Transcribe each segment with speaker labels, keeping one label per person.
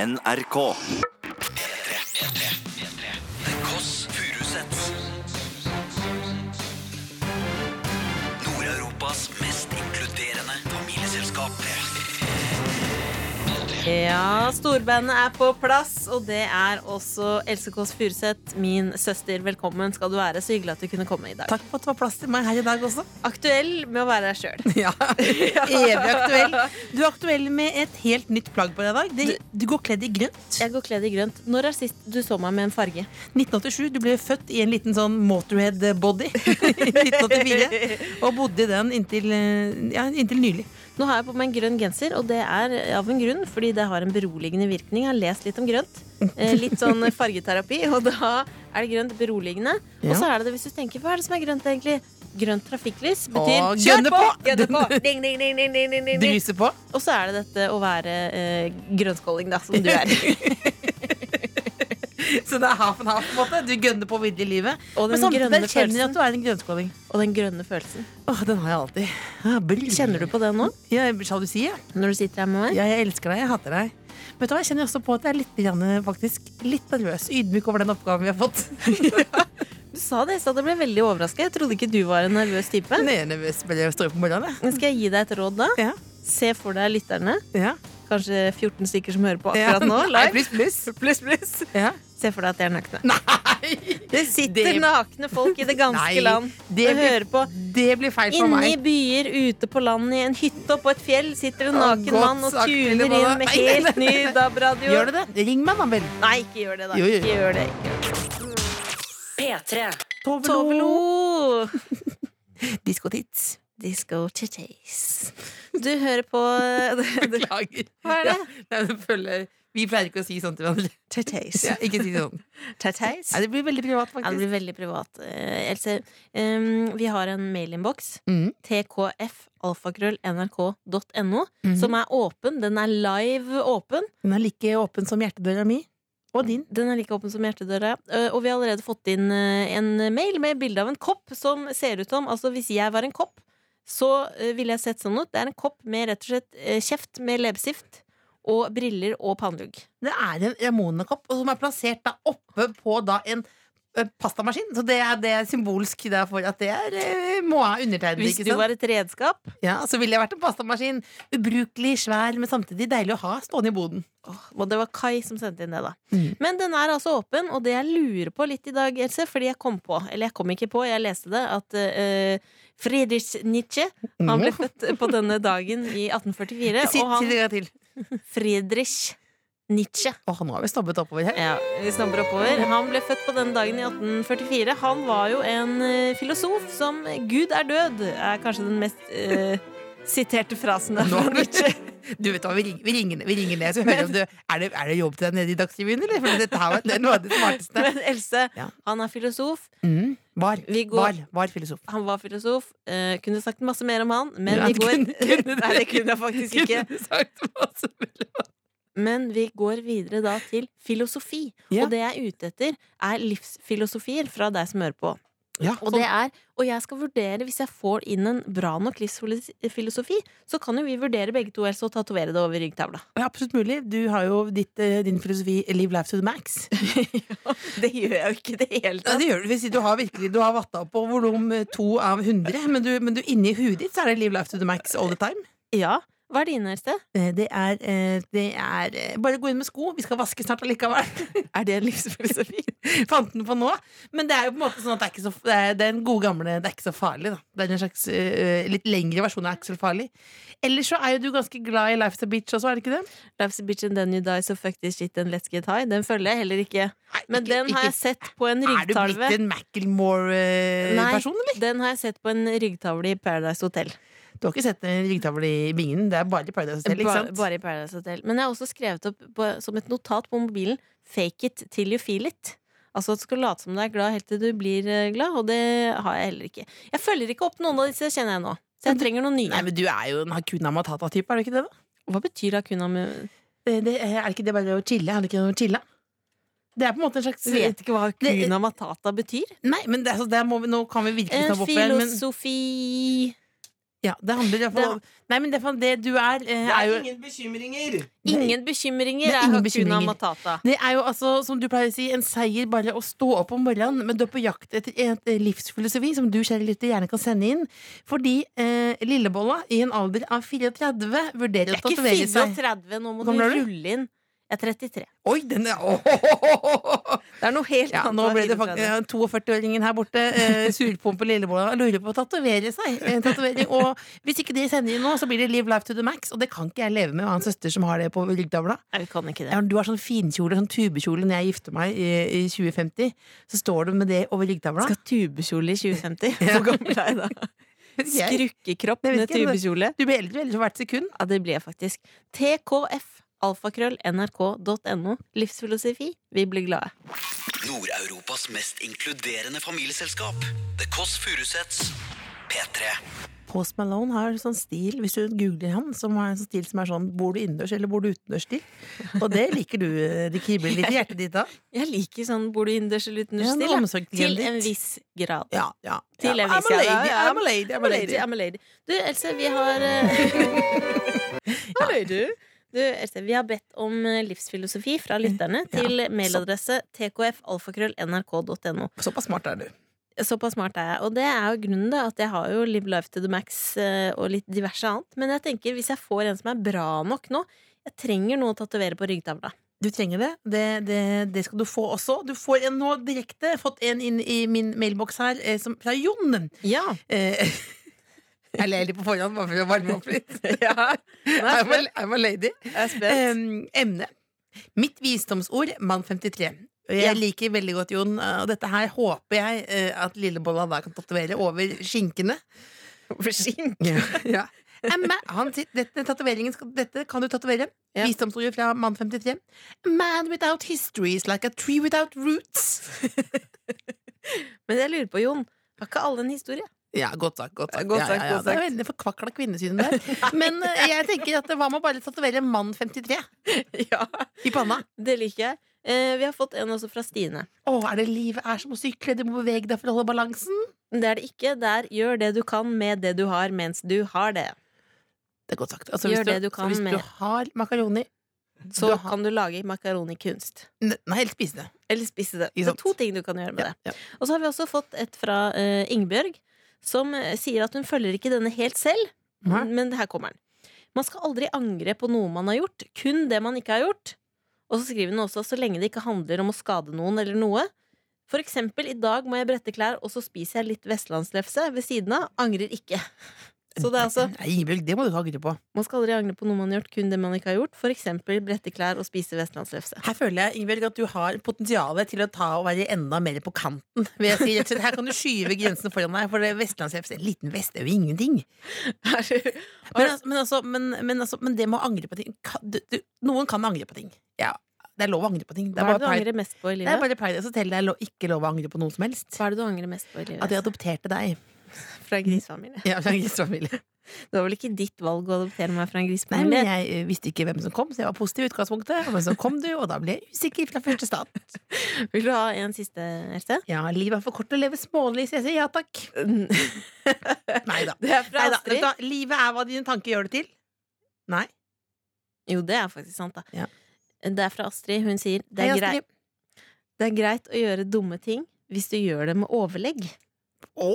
Speaker 1: NRK.
Speaker 2: Kåss Furuseth. Nord-Europas mest inkluderende familieselskap.
Speaker 3: Ja, storbandet er på plass, og det er også Else Kåss Furuseth, min søster. Velkommen skal du være. Så hyggelig at du kunne komme i dag.
Speaker 4: Takk for at det var plass til meg her i dag også.
Speaker 3: Aktuell med å være deg sjøl.
Speaker 4: Ja, Evig aktuell. Du er aktuell med et helt nytt plagg på deg i dag. Det- Du går kledd i grønt.
Speaker 3: Jeg går kledd i grønt. Når er sist du så meg med en farge?
Speaker 4: 1987. Du ble født i en liten sånn Motorhead-body i 1984. Og bodde i den inntil, eh, ja, inntil nylig.
Speaker 3: Nå har jeg på meg en grønn genser, og det er av en grunn, fordi det har en beroligende virkning. Jeg har lest litt om grønt. Eh, Litt sånn fargeterapi, og da er det grønt beroligende. Og så er det det hvis du tenker, hva er det som er grønt egentlig? Grønt trafikklys betyr
Speaker 4: Å,
Speaker 3: kjør
Speaker 4: gønne
Speaker 3: på!
Speaker 4: på!
Speaker 3: Gønne på! Ding, ding, ding, ding, ding, ding, ding.
Speaker 4: Druse på.
Speaker 3: Og så er det dette å være eh, grønnskåling, da, som du er.
Speaker 4: Så det er half and half. på en måte Du gønner på videre i livet.
Speaker 3: Og
Speaker 4: Men
Speaker 3: den
Speaker 4: samtidig
Speaker 3: grønne
Speaker 4: kjenner du at
Speaker 3: følelsen.
Speaker 4: du er en grønnskåling.
Speaker 3: Og den grønne følelsen.
Speaker 4: Åh, den har jeg alltid. Ja, brr.
Speaker 3: Kjenner du på det nå,
Speaker 4: Ja, jeg blir sjalusi, jeg.
Speaker 3: når du sitter her med meg?
Speaker 4: Ja, jeg elsker deg, jeg hater deg. Men vet du hva, jeg kjenner også på at jeg er litt, grann, faktisk, litt nervøs. Ydmyk over den oppgaven vi har fått.
Speaker 3: Du sa det, så jeg ble veldig overraska. Jeg trodde ikke du var en nervøs type.
Speaker 4: Nei, jeg er nervøs, men jeg står opp om morgenen, jeg.
Speaker 3: Men skal jeg gi deg et råd, da?
Speaker 4: Ja.
Speaker 3: Se for deg lytterne.
Speaker 4: Ja.
Speaker 3: Kanskje 14 stykker som hører på akkurat nå.
Speaker 4: Nei,
Speaker 3: Live.
Speaker 4: pluss, pluss.
Speaker 3: Pluss, pluss.
Speaker 4: Ja.
Speaker 3: Se for deg at de er nakne.
Speaker 4: Nei!
Speaker 3: Det sitter
Speaker 4: Det-
Speaker 3: nakne folk i det ganske
Speaker 4: Nei,
Speaker 3: land
Speaker 4: det
Speaker 3: og
Speaker 4: blir-
Speaker 3: hører på.
Speaker 4: Det blir feil for
Speaker 3: Inni
Speaker 4: meg.
Speaker 3: byer, ute på landet, i en hytte oppå et fjell sitter en
Speaker 4: Å,
Speaker 3: naken
Speaker 4: godt
Speaker 3: mann og
Speaker 4: sagt,
Speaker 3: tuner
Speaker 4: Lille Bolla.
Speaker 3: inn med
Speaker 4: Nei, nei,
Speaker 3: helt ny DAB-radio.
Speaker 4: Gjør du det? Ring meg, da vel.
Speaker 3: Nei, ikke gjør det, da.
Speaker 4: Jo, jo, jo.
Speaker 3: Ikke gjør det. Ikke gjør det. Tovelo!
Speaker 4: Diskotids.
Speaker 3: Disco chitties. Du hører på
Speaker 4: Beklager.
Speaker 3: Hva er det?
Speaker 4: Ja, nei, det følger- vi pleier ikke å si sånt til hverandre.
Speaker 3: Chitties.
Speaker 4: Ja, ikke si sånn.
Speaker 3: Chitties.
Speaker 4: Nei, det blir veldig privat,
Speaker 3: Ja, det
Speaker 4: faktisk.
Speaker 3: blir veldig privat. Eh, Else, em, vi har en mailinnboks.
Speaker 4: Mhm.
Speaker 3: tkfalfakrøllnrk.no,
Speaker 4: Mhm.
Speaker 3: som er åpen. Den er live åpen.
Speaker 4: Den er like åpen som hjertedøra mi. Og din.
Speaker 3: Den er like åpen som hjertedøra. Eh, Og vi har allerede fått inn eh, en mail med bilde av en kopp som ser ut som Altså, hvis jeg var en kopp, så eh, ville jeg sett sånn ut. Det er en kopp med rett og slett eh, kjeft med leppestift og briller og pannelugg.
Speaker 4: Det er en Ramona-kopp, og som er plassert da oppe på da en ø, pastamaskin. Så det er, det er symbolsk der for at det er ø, må ha undertegnede.
Speaker 3: Hvis
Speaker 4: ikke
Speaker 3: du
Speaker 4: sant?
Speaker 3: var et redskap
Speaker 4: Ja, så ville jeg vært en pastamaskin. Ubrukelig, svær, men samtidig deilig å ha stående i boden.
Speaker 3: Og det var Kai som sendte inn det, da.
Speaker 4: Mm.
Speaker 3: Men den er altså åpen, og det jeg lurer på litt i dag, Else, fordi jeg kom på, eller jeg kom ikke på, jeg leste det, at eh, Friedrich Nietzsche
Speaker 4: Mm.
Speaker 3: Han ble født på denne dagen i 1844,
Speaker 4: Si,
Speaker 3: og
Speaker 4: si
Speaker 3: han
Speaker 4: det en gang til.
Speaker 3: Friedrich Nietzsche
Speaker 4: Åh, nå har vi stoppet oppover her.
Speaker 3: ja, vi snobber oppover. Han ble født på denne dagen i 1844. Han var jo en eh, filosof som 'Gud er død' er kanskje den mest eh, siterte frasen. av
Speaker 4: Nå har
Speaker 3: Nietzsche.
Speaker 4: vi- Du vet hva, Vi ringer, vi ringer, ned- vi ringer ned, så hører vi om du er det, er det jobb til deg nede i Dagsrevyen, eller? For dette her var det er noe av det smarteste.
Speaker 3: Men Else,
Speaker 4: Ja.
Speaker 3: han er filosof.
Speaker 4: Mm. Var,
Speaker 3: Vi går-
Speaker 4: var, var filosof.
Speaker 3: Han var filosof. Eh, kunne sagt masse mer om han, men
Speaker 4: Ja,
Speaker 3: vi
Speaker 4: det
Speaker 3: går
Speaker 4: kunne- kunne det-
Speaker 3: Nei, det kunne jeg faktisk ikke.
Speaker 4: Kunne sagt masse mer.
Speaker 3: Men vi går videre da til filosofi.
Speaker 4: Ja.
Speaker 3: Og det jeg er ute etter, er livsfilosofier fra deg som hører på.
Speaker 4: Ja,
Speaker 3: Og, det er, og jeg skal vurdere, hvis jeg får inn en bra nok livsfilosofi, så kan jo vi vurdere begge to, ellers og tatovere det over ryggtavla.
Speaker 4: Ja, absolutt mulig. Du har jo ditt, eh, din filosofi 'Live life to the max'.
Speaker 3: Det gjør jeg jo ikke i det hele
Speaker 4: Ja, det gjør du. Hvis Du har virkelig Du har vatta opp på volum eh, to av 100, men, du, men du, inni huet ditt så er det 'Live life to the max' all the time.
Speaker 3: Ja. Hva er dine, Else?
Speaker 4: Eh, Det er, eh, det er eh, Bare gå inn med sko. Vi skal vaske snart allikevel.
Speaker 3: Er det en livsfilosofi?
Speaker 4: Fant den på nå. Men det er jo på en måte sånn at det er ikke så, det er, det er en god gamle Det er ikke så farlig, da. Det er en slags eh, litt lengre versjon av Axel Farlig. Ellers så er jo du ganske glad i Life's a Bitch også, er det ikke det?
Speaker 3: Life's a bitch and then you die, so fuck this shit and let's get high. Den følger jeg heller ikke.
Speaker 4: Nei,
Speaker 3: Men
Speaker 4: ikke-
Speaker 3: den har jeg
Speaker 4: ikke-
Speaker 3: sett på en eh,
Speaker 4: Er du
Speaker 3: ryggtalve.
Speaker 4: blitt en Macclemore-person, eller?
Speaker 3: Den har jeg sett på en ryggtavle i Paradise Hotel.
Speaker 4: Du har ikke sett en ryggtavle i bingen? Det er bare i Paradise Hotel, ikke
Speaker 3: Bare,
Speaker 4: sant?
Speaker 3: bare i Paradise Hotel. Men jeg har også skrevet opp på, som et notat på mobilen 'fake it till you feel it'. Altså at du skal late som du er glad helt til du blir eh, glad, og det har jeg heller ikke. Jeg følger ikke opp noen av disse, kjenner jeg nå. Så jeg trenger noen
Speaker 4: Nei,
Speaker 3: nye.
Speaker 4: men du er jo en Hakuna Matata-type, er du ikke det? da?
Speaker 3: Hva betyr Hakuna med
Speaker 4: Det, det, er ikke det bare å chille? Er det ikke noe å chille? Det er på en måte en slags
Speaker 3: Vet ikke hva
Speaker 4: Det-
Speaker 3: Hakuna Matata betyr.
Speaker 4: Nei, men det, altså, det må vi, nå kan vi virkelig
Speaker 3: En
Speaker 4: snakke opp igjen. Men
Speaker 3: Eh, filosofi
Speaker 4: Ja, det handler i hvert fall om Nei, men det, det du er, eh, er jo
Speaker 1: ingen bekymringer!
Speaker 3: Ingen bekymringer
Speaker 4: Det er
Speaker 3: er
Speaker 4: ingen
Speaker 3: Hakuna
Speaker 4: bekymringer.
Speaker 3: Matata.
Speaker 4: Det er jo altså, som du pleier å si, en seier bare å stå opp om morgenen, men du er på jakt etter et eh, livsfilosofi som du kjære lytter gjerne kan sende inn. Fordi eh, Lillebolla, i en alder av 34, vurderer
Speaker 3: Jeg
Speaker 4: å
Speaker 3: er ikke
Speaker 4: tatovere seg
Speaker 3: 34, nå må
Speaker 4: Hvor
Speaker 3: du
Speaker 4: gammel er du?
Speaker 3: rulle inn. Jeg er 33.
Speaker 4: Oi, den er Åhåhåhåhå!
Speaker 3: Det er noe helt
Speaker 4: Ja,
Speaker 3: annet.
Speaker 4: nå
Speaker 3: å
Speaker 4: ble
Speaker 3: være 34.
Speaker 4: det faktisk ja, 42-åringen her borte. Eh, surpompe Lillebolla lurer på å tatovere seg. Eh, tatovering. Og hvis ikke de sender inn nå, så blir det Live Life to the Max. Og det kan ikke jeg leve med. Jeg har en søster som har det på ryggdavla.
Speaker 3: Nei, vi kan ikke
Speaker 4: Ja,
Speaker 3: det.
Speaker 4: men du har sånn finkjole, sånn tubekjole Når jeg gifter meg i, i 2050 Så står du med det over ryggtavla
Speaker 3: Skal ha tubekjole i 2050. Hvor gammel er jeg da?
Speaker 4: Jeg-
Speaker 3: Skrukkekropp
Speaker 4: Jeg vet
Speaker 3: med
Speaker 4: ikke, det-
Speaker 3: tubekjole.
Speaker 4: Du blir eldre ellers for hvert sekund
Speaker 3: Ja, det blir jeg faktisk. TKF. Alfakrøll.nrk.no. Livsfilosofi. Vi blir glade.
Speaker 2: Nord-Europas mest inkluderende familieselskap. The Kåss Furuseths. P3.
Speaker 4: Post Malone har sånn stil, hvis du googler han Som har en sånn stil som er sånn, bor du innendørs eller bor du utendørs stil Og det liker du, eh, det kribler litt i hjertet ditt da
Speaker 3: Jeg liker sånn bor du innendørs eller
Speaker 4: Ja,
Speaker 3: utendørs
Speaker 4: noe
Speaker 3: til.
Speaker 4: omsorg
Speaker 3: ja. Til
Speaker 4: litt.
Speaker 3: en viss grad.
Speaker 4: Ja, ja
Speaker 3: Til
Speaker 4: ja.
Speaker 3: en viss
Speaker 4: I'm a
Speaker 3: grad,
Speaker 4: lady,
Speaker 3: ja, ja.
Speaker 4: I'm a lady, I'm
Speaker 3: I'm
Speaker 4: a
Speaker 3: a lady,
Speaker 4: lady
Speaker 3: I'm a lady. Du, Else, vi har eh, Hallo, du. Du, Else, vi har bedt om eh, livsfilosofi fra lytterne til mailadresse tkfalfakrøll.nrk.no.
Speaker 4: Såpass smart er du
Speaker 3: Såpass smart er jeg. Og det er jo grunnen til at jeg har jo Live Life to the Max eh, og litt diverse annet. Men jeg tenker hvis jeg får en som er bra nok nå Jeg trenger noe å tatovere på ryggtavla.
Speaker 4: Du trenger det. Det, det. det skal du få også. Du får en nå direkte. Fått en inn i min mailboks her eh, som, fra Jon.
Speaker 3: Ja.
Speaker 4: Eh, jeg ler litt på forhånd, bare for å varme opp litt. I'm, a, I'm a lady.
Speaker 3: Jeg er spent.
Speaker 4: Em, emne. Mitt visdomsord, mann 53. Og jeg
Speaker 3: Ja.
Speaker 4: liker veldig godt Jon, eh, og dette her håper jeg eh, at Lillebolla da kan tatovere over skinkene. Over skinkene? Ja. Emma, han sier, dette, tatoveringen skal, dette kan du tatovere.
Speaker 3: Ja.
Speaker 4: Visdomsordet fra mann 53. A man without history is like a tree without roots.
Speaker 3: Men jeg lurer på, Jon, har ikke alle en historie?
Speaker 4: Ja, godt sagt. godt sagt,
Speaker 3: Godt
Speaker 4: ja,
Speaker 3: sagt,
Speaker 4: ja, ja.
Speaker 3: godt
Speaker 4: Det er
Speaker 3: sagt.
Speaker 4: veldig forkvakla kvinnesyn der. Men eh, jeg tenker at hva med å bare tatovere mann 53
Speaker 3: Ja,
Speaker 4: i panna?
Speaker 3: Det liker jeg. Eh, vi har fått en også fra Stine.
Speaker 4: Å, er det livet er som å sykle? Du må bevege deg for å holde balansen.
Speaker 3: Men Det er det ikke. Det er 'gjør det du kan med det du har, mens du har det'.
Speaker 4: Det er godt sagt. Altså,
Speaker 3: Gjør
Speaker 4: hvis du,
Speaker 3: det du kan
Speaker 4: hvis
Speaker 3: med-
Speaker 4: du har makaroni
Speaker 3: Så
Speaker 4: Du har-
Speaker 3: kan du lage makaronikunst.
Speaker 4: N- Nei, helt spise det.
Speaker 3: Eller spise det. Det
Speaker 4: Ikke
Speaker 3: er
Speaker 4: sant?
Speaker 3: to ting du kan gjøre med
Speaker 4: Ja,
Speaker 3: det.
Speaker 4: ja.
Speaker 3: Og så har vi også fått et fra eh, Ingebjørg, som eh, sier at hun følger ikke denne helt selv,
Speaker 4: Nei.
Speaker 3: men her kommer den. Man skal aldri angre på noe man har gjort, kun det man ikke har gjort. Og så skriver hun også så lenge det ikke handler om å skade noen eller noe. For eksempel, i dag må jeg brette klær, og så spiser jeg litt vestlandslefse ved siden av. Angrer ikke. Så det er altså
Speaker 4: Nei, Ingebjørg, det må du ikke angre på.
Speaker 3: Man skal aldri angle på noe man har gjort, kun det man ikke har gjort. For eksempel brette klær og spise vestlandslefse.
Speaker 4: Her føler jeg Ingebjørg, at du har potensialet til å ta og være enda mer på kanten. Vil jeg si. Rett og slett, Her kan du skyve grensen foran deg, for det er vestlandsreps, en liten vest er jo ingenting. Men, altså- men, altså, men, men, altså, men det med å angre på ting kan, du, du, Noen kan angre på ting. Ja, det er lov å angre på ting. Det
Speaker 3: Hva er
Speaker 4: er bare
Speaker 3: det du
Speaker 4: pride.
Speaker 3: angrer mest på i
Speaker 4: Det er
Speaker 3: livet?
Speaker 4: bare pride. Jeg skal telle deg lo- ikke lov å angre på noe som helst.
Speaker 3: Hva er det du angrer mest på i livet?
Speaker 4: At jeg adopterte deg.
Speaker 3: fra en grisfamilie.
Speaker 4: Ja, fra en grisefamilie.
Speaker 3: Det var vel ikke ditt valg å adoptere meg fra en
Speaker 4: Nei, men
Speaker 3: grisfamilie?
Speaker 4: jeg eh, visste ikke hvem som kom, så jeg var positiv i utgangspunktet. Men så kom du, og da ble jeg usikker fra første start.
Speaker 3: Vil du ha en siste, Else?
Speaker 4: Ja, livet er for kort til å leve smålig, så jeg sier ja takk.
Speaker 3: det
Speaker 4: Nei da.
Speaker 3: Mm. er fra Astrid.
Speaker 4: Livet er hva dine tanker gjør det til. Nei.
Speaker 3: Jo, det er faktisk sant, da.
Speaker 4: Ja.
Speaker 3: Det er fra Astrid. Hun sier det
Speaker 4: Hei,
Speaker 3: er,
Speaker 4: Astrid.
Speaker 3: greit, det er greit å gjøre dumme ting hvis du gjør det med overlegg.
Speaker 4: Å,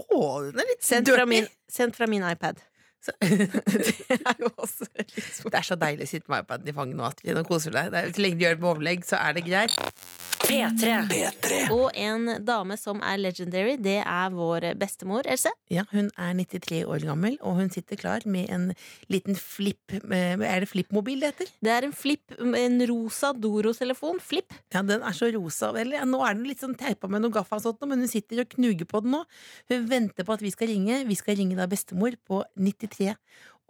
Speaker 4: den er litt
Speaker 3: Sendt fra min, sendt fra min iPad.
Speaker 4: Så- det er jo også Det er så deilig å sitte med iPaden i fanget nå, Astrid. Nå koser du deg. Det er, så lenge du gjør det med overlegg, så er det greit.
Speaker 2: P3.
Speaker 3: Og en dame som er legendary, det er vår bestemor, Else.
Speaker 4: Ja, hun er 93 år gammel, og hun sitter klar med en liten flipp eh, Er det flippmobil det heter?
Speaker 3: Det er en flipp, en rosa Doro-telefon. Flipp.
Speaker 4: Ja, den er så rosa. Vel, ja, nå er den litt sånn teipa med noe gaffa og sånt, nå, men hun sitter og knuger på den nå. Hun venter på at vi skal ringe. Vi skal ringe da bestemor på 93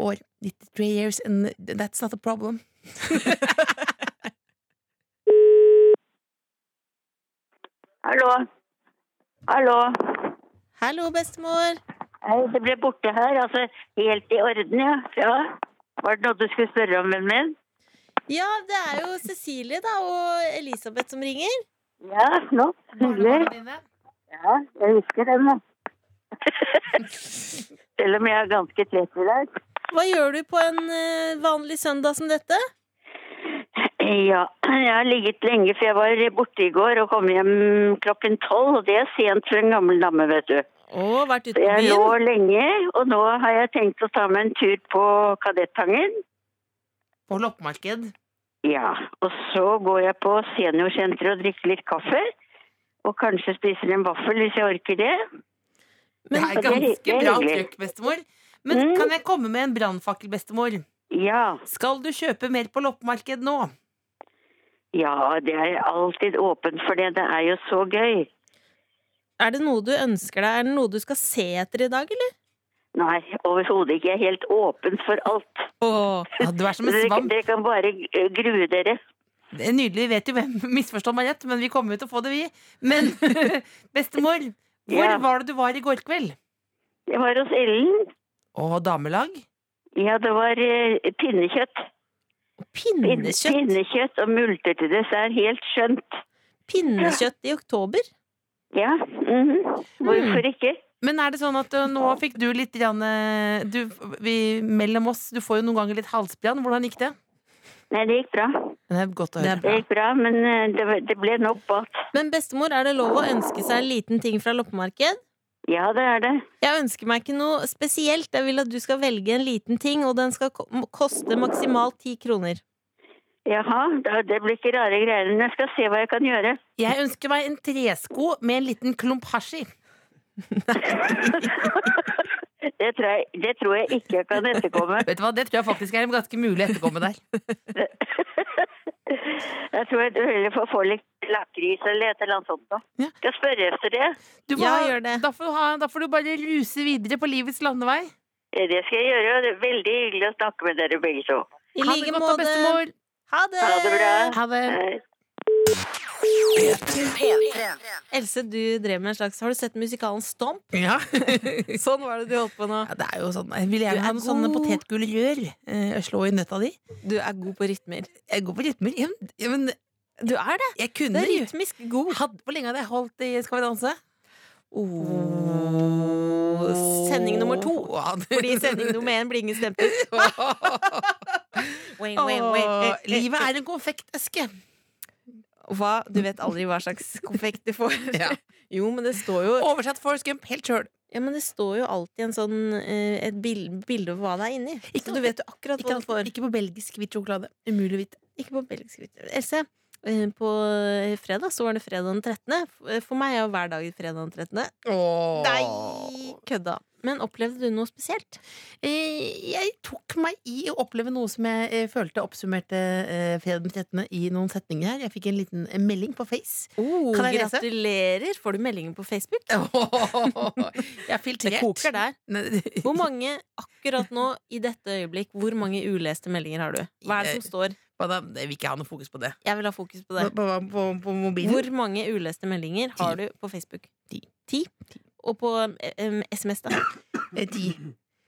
Speaker 4: år. 93 years, and that's not a problem.
Speaker 5: Hallo. Hallo.
Speaker 3: Hallo, bestemor!
Speaker 5: Hei, det ble borte her. Altså, helt i orden, ja. ja. Var det noe du skulle spørre om, vennen min?
Speaker 3: Ja, det er jo Cecilie da, og Elisabeth som ringer.
Speaker 5: Ja, flott. Hyggelig. Ja, jeg husker den, da. selv om jeg er ganske trett i dag.
Speaker 3: Hva gjør du på en eh, vanlig søndag som dette?
Speaker 5: Ja, jeg har ligget lenge, for jeg var borte i går og kom hjem klokken tolv. Og det er sent for en gammel dame, vet du.
Speaker 3: Å, vært ute
Speaker 5: Så
Speaker 3: på
Speaker 5: jeg lå
Speaker 3: byen?
Speaker 5: lenge, og nå har jeg tenkt å ta meg en tur på Kadettangen.
Speaker 4: På loppemarked.
Speaker 5: Ja, og så går jeg på seniorsenteret og drikker litt kaffe. Og kanskje spiser en vaffel hvis jeg orker det.
Speaker 4: det er
Speaker 5: Ja, det er- det
Speaker 4: ganske
Speaker 5: er
Speaker 4: bra
Speaker 5: hyggelig.
Speaker 4: trøkk, bestemor. Men
Speaker 5: Mm.
Speaker 4: kan jeg komme med en brannfakkel, bestemor?
Speaker 5: Ja,
Speaker 4: Skal du kjøpe mer på loppemarked nå?
Speaker 5: ja, det er alltid åpent for det. Det er jo så gøy.
Speaker 3: Er det noe du ønsker deg? Er det noe du skal se etter i dag, eller?
Speaker 5: Nei, overhodet ikke. Jeg er helt åpen for alt.
Speaker 3: Åh.
Speaker 4: Ja, du er som en
Speaker 5: Dere,
Speaker 4: svamp.
Speaker 5: dere kan bare eh, grue dere.
Speaker 4: Det er nydelig. Vi vet jo hvem misforstår meg rett, men vi kommer jo til å få det, vi. Men bestemor, hvor
Speaker 5: Ja.
Speaker 4: var det du var i går kveld?
Speaker 5: Jeg var hos Ellen.
Speaker 4: Å, damelag?
Speaker 5: Ja, det var eh, pinnekjøtt. Pin-
Speaker 3: Pinnekjøtt?
Speaker 5: Pinnekjøtt og multer til dessert. Helt skjønt.
Speaker 3: Pinnekjøtt i oktober?
Speaker 5: Ja. mhm. Hvorfor ikke?
Speaker 4: Men er det sånn at ø, nå fikk du litt grann, ø, du, vi, Mellom oss, du får jo noen ganger litt halsbrann. Hvordan gikk det?
Speaker 5: Nei, det gikk bra.
Speaker 4: Det er godt å
Speaker 3: Det er
Speaker 4: høre.
Speaker 5: Det
Speaker 3: bra.
Speaker 5: gikk bra, men eh, det, var- det ble nok mat.
Speaker 3: Men bestemor, er det lov å ønske seg en liten ting fra loppemarked?
Speaker 5: Ja, det er det.
Speaker 3: Jeg ønsker meg ikke noe spesielt. Jeg vil at du skal velge en liten ting, og den skal ko- må- koste maksimalt ti kroner.
Speaker 5: Jaha, da- det blir ikke rare greier. Men jeg skal se hva jeg kan gjøre.
Speaker 4: Jeg ønsker meg en tresko med en liten klump hasj i.
Speaker 5: Det tror jeg, det tror jeg ikke jeg kan etterkomme.
Speaker 4: Vet du hva, Det tror jeg faktisk er en ganske mulig etterkomme der.
Speaker 5: Jeg tror jeg heller får få litt lakris eller et eller annet sånt noe.
Speaker 4: Ja.
Speaker 5: Skal jeg spørre etter det?
Speaker 4: Du får
Speaker 3: Ja,
Speaker 4: ha-
Speaker 3: gjør det.
Speaker 4: Da, får du ha, da får du bare ruse videre på livets landevei.
Speaker 5: Eh, Det skal jeg gjøre. og Det er veldig hyggelig å snakke med dere begge to.
Speaker 3: I
Speaker 4: Ha det
Speaker 3: like
Speaker 4: godt da,
Speaker 3: måte.
Speaker 4: bestemor.
Speaker 3: Ha det!
Speaker 5: Ha det bra.
Speaker 4: Ha det.
Speaker 5: Eh,
Speaker 3: Else, du drev med en slags Har du sett musikalen Stomp?
Speaker 4: Ja.
Speaker 3: Sånn var det du holdt på nå.
Speaker 4: det er jo sånn Vil jeg
Speaker 3: Du
Speaker 4: ha
Speaker 3: er
Speaker 4: noen sånne
Speaker 3: god.
Speaker 4: potetgullrør? eh, Slå i nøtta di?
Speaker 3: Du er god på rytmer.
Speaker 4: Jeg går på rytmer. Ja, men- ja, men
Speaker 3: Du er det!
Speaker 4: jeg
Speaker 3: Du
Speaker 4: kunne
Speaker 3: er
Speaker 4: jo
Speaker 3: rytmisk god.
Speaker 4: Hadde- Hvor lenge hadde jeg holdt i Skal vi danse?
Speaker 3: Oh, sending nummer to.
Speaker 4: Ja, det-
Speaker 3: Fordi sending nummer én blir ingen stemt ut. Wing, wing, wing.
Speaker 4: Åh, Livet er en konfekteske.
Speaker 3: Hva? Du vet aldri hva slags konfekt du får.
Speaker 4: Ja.
Speaker 3: Jo, men det står jo
Speaker 4: Oversatt Forrest Gump helt sjøl.
Speaker 3: Ja, men det står jo alltid en sånn, eh, et bil- bilde over hva det er inni.
Speaker 4: Ikke
Speaker 3: så
Speaker 4: noe-
Speaker 3: du vet jo akkurat hva
Speaker 4: Ikke,
Speaker 3: du får.
Speaker 4: ikke på belgisk hvit sjokolade. Umulig å vite.
Speaker 3: Ikke på belgisk hvit. Else, eh, på eh, fredag så var det fredag den 13. F- For meg er jo hver dag fredag den 13. Nei, kødda. Men opplevde du noe spesielt?
Speaker 4: Eh, Jeg tok meg i å oppleve noe som jeg eh, følte oppsummerte eh, fredag den 13. i noen setninger her. Jeg fikk en liten eh, melding på Face.
Speaker 3: Oh,
Speaker 4: Kan jeg lese?
Speaker 3: gratulerer! Får du meldinger på Facebook?
Speaker 4: jeg filtrerte.
Speaker 3: Det koker der.
Speaker 4: Nei,
Speaker 3: Hvor mange akkurat nå, i dette øyeblikk, hvor mange uleste meldinger har du? Hva er det som står?
Speaker 4: hva da? Jeg vil ikke ha noe fokus på det.
Speaker 3: Jeg vil ha fokus på
Speaker 4: På,
Speaker 3: det.
Speaker 4: på, på, på mobilen.
Speaker 3: Hvor mange uleste meldinger har du på Facebook?
Speaker 4: Ti.
Speaker 3: Ti? Og på em, SMS, da?
Speaker 4: Eh, Ti.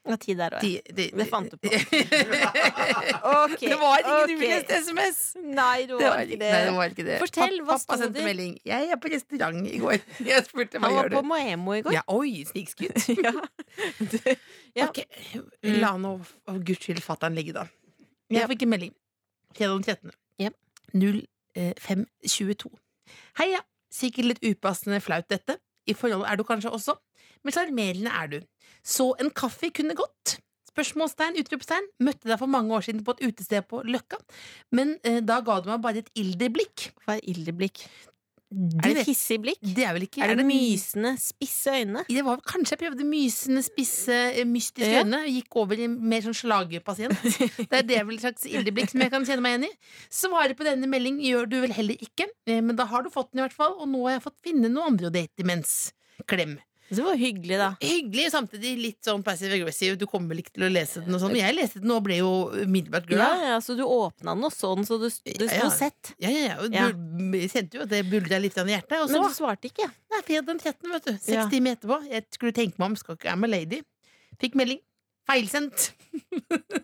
Speaker 3: Ja, ti der òg.
Speaker 4: Ti- ti-
Speaker 3: Det fant du på.
Speaker 4: Ok, Det var ingen
Speaker 3: ok.
Speaker 4: ulest SMS!
Speaker 3: Nei, det
Speaker 4: Det
Speaker 3: var
Speaker 4: var,
Speaker 3: ikke
Speaker 4: Nei, det
Speaker 3: det.
Speaker 4: var ikke det.
Speaker 3: Fortell, hva
Speaker 4: Pappa-
Speaker 3: sto
Speaker 4: Pappa sendte
Speaker 3: det?
Speaker 4: melding. Jeg er på restaurant i går. Jeg spurte hva
Speaker 3: Han var
Speaker 4: gjør du
Speaker 3: på Maemmo i går.
Speaker 4: Ja, oi, snikskudd.
Speaker 3: Ja.
Speaker 4: Ok, La nå for guds skyld fatter'n ligge, da. Jeg
Speaker 3: Ja.
Speaker 4: fikk en melding. Fredag den eh, 13.
Speaker 3: Ja.
Speaker 4: 0522. Heia. Sikkert litt upassende flaut, dette. I forholdet er du kanskje også, men sjarmerende er du. Så en kaffe kunne gått? Spørsmålstegn, utropstegn. Møtte deg for mange år siden på et utested på Løkka, men eh, da ga du meg bare et ildig blikk.
Speaker 3: Hva er ilderblikk?
Speaker 4: Du
Speaker 3: Er det
Speaker 4: vet-
Speaker 3: et hissig blikk?
Speaker 4: det er vel ikke
Speaker 3: Er det
Speaker 4: mye-
Speaker 3: mysende, spisse øyne?
Speaker 4: det var kanskje jeg prøvde mysende, spisse, eh, mystiske
Speaker 3: Ja.
Speaker 4: øyne. Gikk over i mer sånn slagerpasient. Det er det vel et slags ildeblikk som jeg kan kjenne meg igjen i. Svaret på denne melding gjør du vel heller ikke, eh, men da har du fått den i hvert fall, og nå har jeg fått finne noen andre å date imens. Klem.
Speaker 3: Det var hyggelig, da.
Speaker 4: Hyggelig, samtidig litt sånn passive aggressive. Du kommer vel ikke til å lese den og sånn. Jeg leste den og ble jo umiddelbart
Speaker 3: Ja,
Speaker 4: glad.
Speaker 3: ja, så du åpna den og så den, så du, du
Speaker 4: Ja,
Speaker 3: sto
Speaker 4: ja.
Speaker 3: sett.
Speaker 4: Ja, ja, ja. og
Speaker 3: Ja.
Speaker 4: bul- Jeg kjente jo at det buldra litt grann i hjertet. Og så
Speaker 3: Men du svarte ikke.
Speaker 4: Nei, fredag den 13, vet du. Seks
Speaker 3: Ja.
Speaker 4: timer etterpå. Jeg skulle tenke meg om. Skal ikke I'm a lady. Fikk melding. Feilsendt.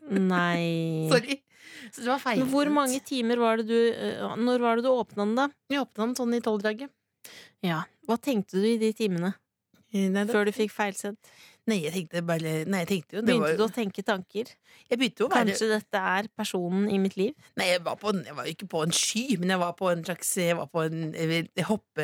Speaker 3: Nei.
Speaker 4: Sorry. Så det var
Speaker 3: Mm. Men
Speaker 4: feilsendt.
Speaker 3: hvor mange timer var det du eh, Når var det du åpna den, da?
Speaker 4: Jeg åpna den sånn i tolvdraget.
Speaker 3: Ja. Hva tenkte du i de timene
Speaker 4: Nei, det-
Speaker 3: før du fikk feilsendt?
Speaker 4: Nei, jeg tenkte bare Nei, jeg tenkte jo det
Speaker 3: Begynte
Speaker 4: var,
Speaker 3: du å tenke tanker?
Speaker 4: Jeg begynte jo å være
Speaker 3: Kanskje dette er personen i mitt liv?
Speaker 4: Nei, jeg var, på, en- jeg var jo ikke på en sky, men jeg var på en slags Jeg var på en jeg vil- jeg hoppe...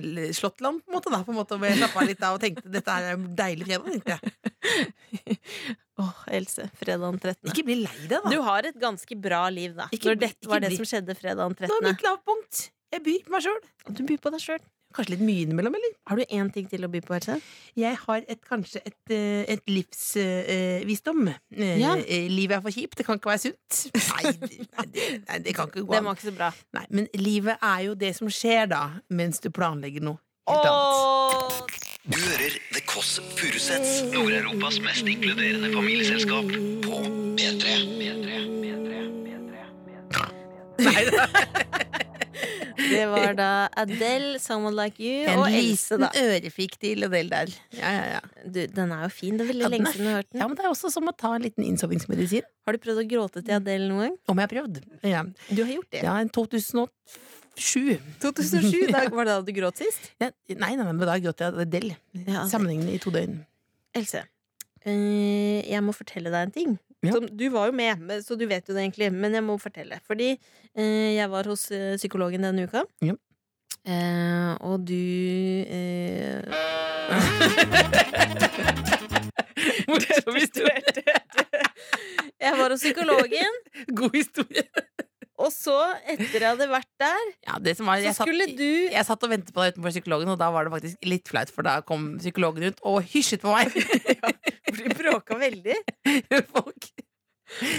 Speaker 4: eller Slåttland, på en måte. Da, på en måte hvor jeg slappet av litt av og tenkte dette her er en deilig fredag. tenkte jeg
Speaker 3: Åh, Else. Fredag den 13.
Speaker 4: Ikke bli lei deg, da.
Speaker 3: Du har et ganske bra liv, da.
Speaker 4: Ikke
Speaker 3: når
Speaker 4: bli-
Speaker 3: dette var
Speaker 4: ikke
Speaker 3: det
Speaker 4: bli-
Speaker 3: som skjedde fredag den
Speaker 4: Nå
Speaker 3: 13.
Speaker 4: er mitt lavpunkt. Jeg byr på meg sjøl.
Speaker 3: Du byr på deg sjøl.
Speaker 4: Kanskje litt mye innimellom, eller?
Speaker 3: Har du én ting til å by på, Else?
Speaker 4: Jeg har et, kanskje et, eh, et eh, livsvisdom.
Speaker 3: Ja.
Speaker 4: eh, Livet er for kjipt, det kan ikke være sunt. Nei, det- nei, det, nei, det kan ikke gå
Speaker 3: Den
Speaker 4: an.
Speaker 3: var ikke så bra.
Speaker 4: Nei, men livet er jo det som skjer da, mens du planlegger noe helt annet.
Speaker 3: Åh,
Speaker 2: Du hører The Kåss Furuseths, Nord-Europas mest inkluderende familieselskap, på P3.
Speaker 4: Nei, da.
Speaker 3: det var da Adele, 'Someone Like You',
Speaker 4: En
Speaker 3: og Else,
Speaker 4: liten
Speaker 3: da.
Speaker 4: ørefik til Adele der. Ja, ja, ja.
Speaker 3: Du, den er jo fin. Det er veldig
Speaker 4: Ja, den
Speaker 3: lenge
Speaker 4: er
Speaker 3: siden du har hørt
Speaker 4: ja,
Speaker 3: den.
Speaker 4: men Det er også som å ta en liten innsovingsmedisin.
Speaker 3: Har du prøvd å gråte
Speaker 4: Mm.
Speaker 3: til Adele noen gang?
Speaker 4: Om jeg har prøvd. Ja,
Speaker 3: Du har gjort
Speaker 4: ja en 2007.
Speaker 3: 2007, da var det da du gråt sist?
Speaker 4: Ja, Nei, nei, nei, men da gråt jeg Adele.
Speaker 3: Ja,
Speaker 4: Sammenhengende i to døgn.
Speaker 3: Else, eh, jeg må fortelle deg en ting.
Speaker 4: Ja.
Speaker 3: Som, du var jo med, men- så du vet jo det egentlig, men jeg må fortelle. Fordi eh, jeg var hos eh, psykologen denne uka,
Speaker 4: Ja.
Speaker 3: eh, og du eh,
Speaker 4: Morsom historie.
Speaker 3: Jeg var hos psykologen,
Speaker 4: God historie.
Speaker 3: og så, etter jeg hadde vært der,
Speaker 4: Ja, det som var,
Speaker 3: så
Speaker 4: jeg, satt,
Speaker 3: skulle du
Speaker 4: jeg satt og ventet på deg utenfor psykologen, og da var det faktisk litt flaut, for da kom psykologen ut og hysjet på meg.
Speaker 3: Du bråka veldig.
Speaker 4: Folk.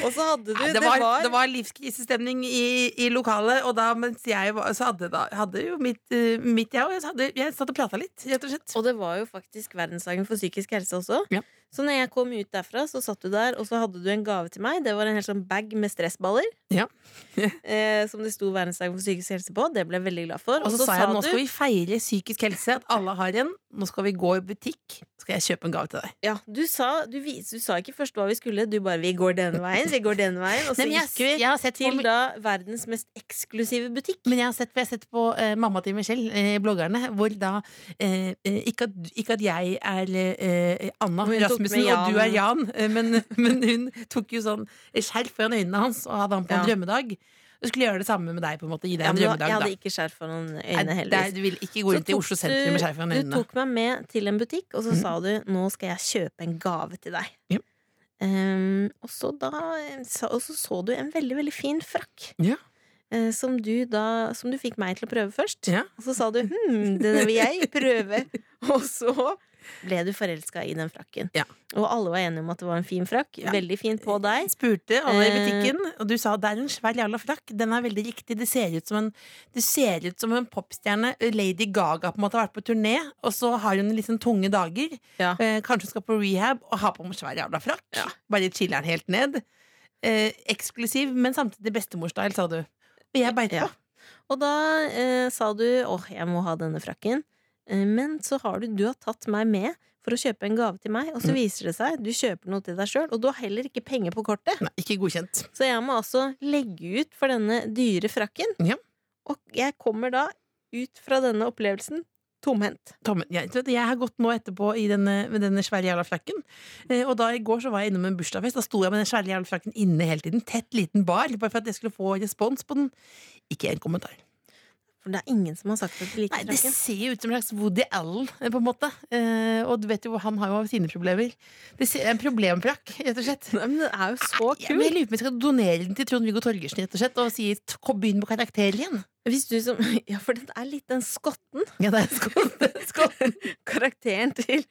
Speaker 3: Og så hadde du
Speaker 4: Nei, det, var, det var livskrisestemning i, i lokalet, og da mens jeg var Så hadde, da, hadde jo mitt, eh, mitt jeg, og jeg, hadde, jeg satt og prata litt, rett og slett.
Speaker 3: Og det var jo faktisk verdensdagen for psykisk helse også.
Speaker 4: Ja.
Speaker 3: Så når jeg kom ut derfra, så satt du der, og så hadde du en gave til meg. Det var en hel sånn bag med stressballer.
Speaker 4: Ja.
Speaker 3: eh, som det sto verdensdagen for psykisk helse på. Det ble jeg veldig glad for.
Speaker 4: Og så sa jeg nå skal vi feire psykisk helse, at alle har en. Nå skal vi gå i butikk, så skal jeg kjøpe en gave til deg.
Speaker 3: ja, du, sa, du, vis- du sa ikke først hva vi skulle, du bare 'vi går denne veien', vi går denne veien. Og så
Speaker 4: Nei, men jeg-
Speaker 3: gikk vi
Speaker 4: jeg har sett på
Speaker 3: til
Speaker 4: mi-
Speaker 3: da verdens mest eksklusive butikk.
Speaker 4: Men jeg har sett, for jeg har sett på eh, mamma til Michelle, eh, bloggerne, hvor da eh, eh, ikke, at, ikke at jeg er eh, Anna
Speaker 3: Hun tok
Speaker 4: Rasmussen
Speaker 3: med
Speaker 4: og du er
Speaker 3: Jan.
Speaker 4: Jan, eh, men, men hun tok jo sånn skjerf foran øynene hans og hadde han på en
Speaker 3: Ja.
Speaker 4: drømmedag. Du skulle gjøre det samme med deg, på en måte. Gi deg
Speaker 3: Ja,
Speaker 4: en
Speaker 3: men da-
Speaker 4: drømmedag,
Speaker 3: jeg
Speaker 4: da.
Speaker 3: hadde ikke skjerf foran øynene,
Speaker 4: Nei,
Speaker 3: heldigvis.
Speaker 4: det er- du vil ikke gå
Speaker 3: Så
Speaker 4: rundt i
Speaker 3: tok
Speaker 4: Oslo sentrum med skjerf foran
Speaker 3: du- Du
Speaker 4: øynene.
Speaker 3: tok meg med til en butikk, og så sa du 'nå skal jeg kjøpe en gave til deg'.
Speaker 4: Mhm. Ja.
Speaker 3: Ehm, og, så da, sa- og så så du en veldig, veldig fin frakk.
Speaker 4: Ja.
Speaker 3: eh, Som du, da, som du fikk meg til å prøve først.
Speaker 4: Ja.
Speaker 3: Og så sa du 'hm, den vil jeg prøve'. og så ble du forelska i den frakken.
Speaker 4: Ja.
Speaker 3: Og alle var enige om at det var en fin frakk.
Speaker 4: Ja.
Speaker 3: Veldig fin på deg.
Speaker 4: Spurte alle i
Speaker 3: Eh.
Speaker 4: butikken, og du sa det er en svær jævla frakk. Den er veldig riktig. Det ser ut som en, det ser ut som en popstjerne. Lady Gaga på en måte har vært på turné, og så har hun litt sånn tunge dager.
Speaker 3: Ja.
Speaker 4: Eh, kanskje hun skal på rehab og ha på en svær jævla frakk. Bare chiller den helt ned. Eh, eksklusiv, men samtidig bestemorstyle, sa du. Og jeg beit på.
Speaker 3: Ja. Og da eh, sa du åh, jeg må ha denne frakken. Eh, men så har du, du har tatt meg med for å kjøpe en gave til meg, og så viser det seg du kjøper noe til deg sjøl, og du har heller ikke penger på kortet.
Speaker 4: Nei, ikke godkjent.
Speaker 3: Så jeg må altså legge ut for denne dyre frakken.
Speaker 4: Ja.
Speaker 3: Og jeg kommer da ut fra denne opplevelsen tomhendt.
Speaker 4: Tommen, jeg, vet du, jeg har gått nå etterpå i denne, med denne svære jævla frakken. Eh, og da i går så var jeg innom en bursdagsfest. Da sto jeg med den svære jævla frakken inne hele tiden. Tett liten bar. Bare for at jeg skulle få respons på den. Ikke en kommentar.
Speaker 3: For det er ingen som har sagt at de
Speaker 4: Nei,
Speaker 3: liker
Speaker 4: Det
Speaker 3: frakken.
Speaker 4: ser jo ut som en slags Woody Allen, eh, på en måte. Eh, og du vet jo, han har jo sine problemer. Det ser, en problemfrakk, rett og slett.
Speaker 3: Nei, men det er jo så
Speaker 4: Ja, men jeg
Speaker 3: kult!
Speaker 4: lurer på om jeg skal donere den til Trond-Viggo Torgersen rett og slett og si "T- kom, begynn på karakter igjen.
Speaker 3: Hvis du som Ja, for den er litt den skotten.
Speaker 4: Ja, det er skål. skål.
Speaker 3: karakteren til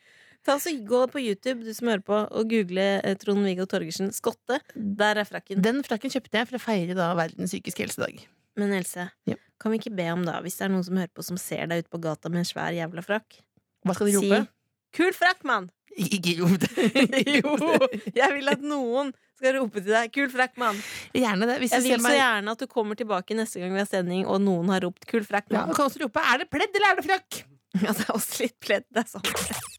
Speaker 3: Ta så Gå på YouTube, du som hører på, og google eh, Trond-Viggo Torgersen skotte. Der er frakken.
Speaker 4: Den frakken kjøpte jeg for å feire da verdens psykiske helsedag.
Speaker 3: Men Else,
Speaker 4: Ja.
Speaker 3: kan vi ikke be om, da, hvis det er noen som hører på som ser deg ute på gata med en svær jævla frakk,
Speaker 4: Hva skal de rope?
Speaker 3: Si 'kul frakk, mann'!
Speaker 4: Ikke rop det.
Speaker 3: Jo! Jeg vil at noen skal rope til deg 'kul frakk, mann'.
Speaker 4: Gjerne det. Hvis
Speaker 3: Jeg
Speaker 4: du
Speaker 3: vil
Speaker 4: ser
Speaker 3: så
Speaker 4: meg
Speaker 3: gjerne at du kommer tilbake neste gang vi har sending, og noen har ropt 'kul frakk,
Speaker 4: ja, du
Speaker 3: mann'.
Speaker 4: kan også rope 'er det pledd eller er det frakk'?
Speaker 3: Ja, det er også litt pledd, det er sant.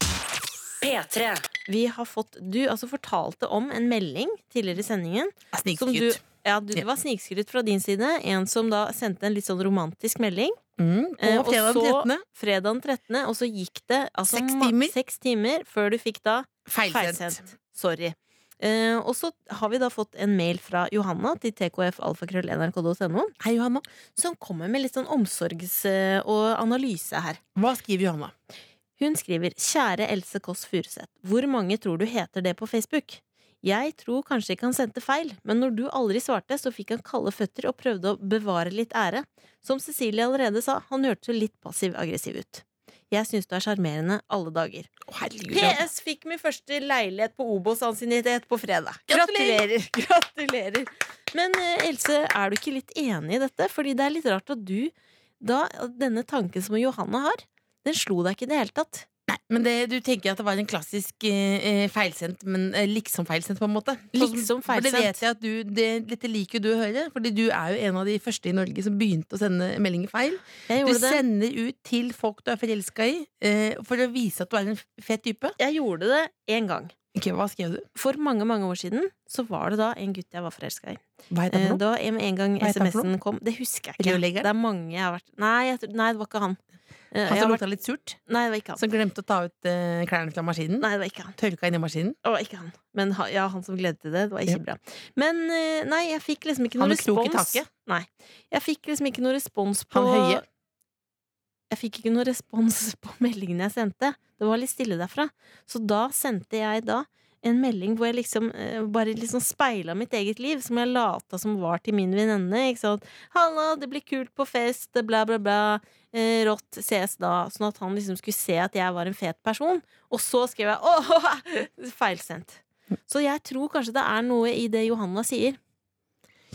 Speaker 2: P3.
Speaker 3: Vi har fått Du altså fortalte om en melding tidligere i sendingen
Speaker 4: Jeg
Speaker 3: som du,
Speaker 4: Snikskryt.
Speaker 3: Ja, du, det var snikskryt fra din side. En som da sendte en litt sånn romantisk melding.
Speaker 4: Mm, på
Speaker 3: Eh, og
Speaker 4: fredag den
Speaker 3: så-
Speaker 4: 13.
Speaker 3: Fredag den 13., og så gikk det altså,
Speaker 4: Seks
Speaker 3: ma-
Speaker 4: timer.
Speaker 3: seks timer før du fikk da
Speaker 4: Feilsendt.
Speaker 3: feilsendt. Sorry. Eh, og så har vi da fått en mail fra Johanna til tkfalfakrøll.nrk.no,
Speaker 4: Hei, Johanna.
Speaker 3: som kommer med litt sånn omsorgs- eh, og analyse her.
Speaker 4: Hva skriver Johanna?
Speaker 3: Hun skriver 'Kjære Else Kåss Furuseth, hvor mange tror du heter det på Facebook?' Jeg tror kanskje ikke han sendte feil, men når du aldri svarte, så fikk han kalde føtter og prøvde å bevare litt ære. Som Cecilie allerede sa, han hørtes jo litt passiv-aggressiv ut. Jeg syns du er sjarmerende alle dager.
Speaker 4: Å, herregud. Johanna.
Speaker 3: PS fikk min første leilighet på Obos-ansiennitet på fredag.
Speaker 4: Gratulerer!
Speaker 3: Gratulerer! Gratulerer! Men eh, Else, er du ikke litt enig i dette? Fordi det er litt rart at du da Denne tanken som Johanna har, den slo deg ikke i det hele tatt.
Speaker 4: Men det, du tenker at det var en klassisk eh, eh, feilsendt, men eh, liksom feilsendt, på en måte? Sånn-
Speaker 3: Liksom
Speaker 4: for Det
Speaker 3: feilsendt.
Speaker 4: vet jeg at du, det, dette liker jo du å høre, Fordi du er jo en av de første i Norge som begynte å sende meldinger feil.
Speaker 3: Jeg
Speaker 4: Du
Speaker 3: gjorde det.
Speaker 4: sender ut til folk du er forelska i, eh, for å vise at du er en fet type.
Speaker 3: Jeg gjorde det én gang.
Speaker 4: Ok, Hva skrev du?
Speaker 3: For mange mange år siden så var det da en gutt jeg var forelska i.
Speaker 4: Hva heter
Speaker 3: Eh,
Speaker 4: han? for noe?
Speaker 3: Det var en, en gang
Speaker 4: Hva het han for
Speaker 3: SMS-en kom. Det husker jeg
Speaker 4: Rørlegger?
Speaker 3: ikke. Det er mange jeg har vært Nei, jeg, tror- nei det var ikke han. Eh,
Speaker 4: Han
Speaker 3: jeg har
Speaker 4: som
Speaker 3: vært,
Speaker 4: lukta litt surt?
Speaker 3: nei, det var ikke han.
Speaker 4: Som glemte å ta ut eh, klærne fra maskinen?
Speaker 3: Nei, det var ikke han.
Speaker 4: Tørka inn i maskinen?
Speaker 3: Å, ikke han. Men ha- ja, han som gledet til det. Det var ikke
Speaker 4: Ja.
Speaker 3: bra. Men eh, nei, jeg fikk liksom ikke
Speaker 4: Han
Speaker 3: noe
Speaker 4: med krok i
Speaker 3: respons.
Speaker 4: taket?
Speaker 3: Nei. Jeg fikk liksom ikke noe respons på
Speaker 4: Han høye?
Speaker 3: Jeg fikk ikke noe respons på meldingen jeg sendte. Det var litt stille derfra. Så da sendte jeg da en melding hvor jeg liksom eh, bare liksom speila mitt eget liv, som jeg lata som var til min venninne. Ikke sant? 'Halla, det blir kult på fest', bla, bla, bla. Eh, rått, ses da. Sånn at han liksom skulle se at jeg var en fet person. Og så skrev jeg 'åh, feilsendt'. Så jeg tror kanskje det er noe i det Johanna sier.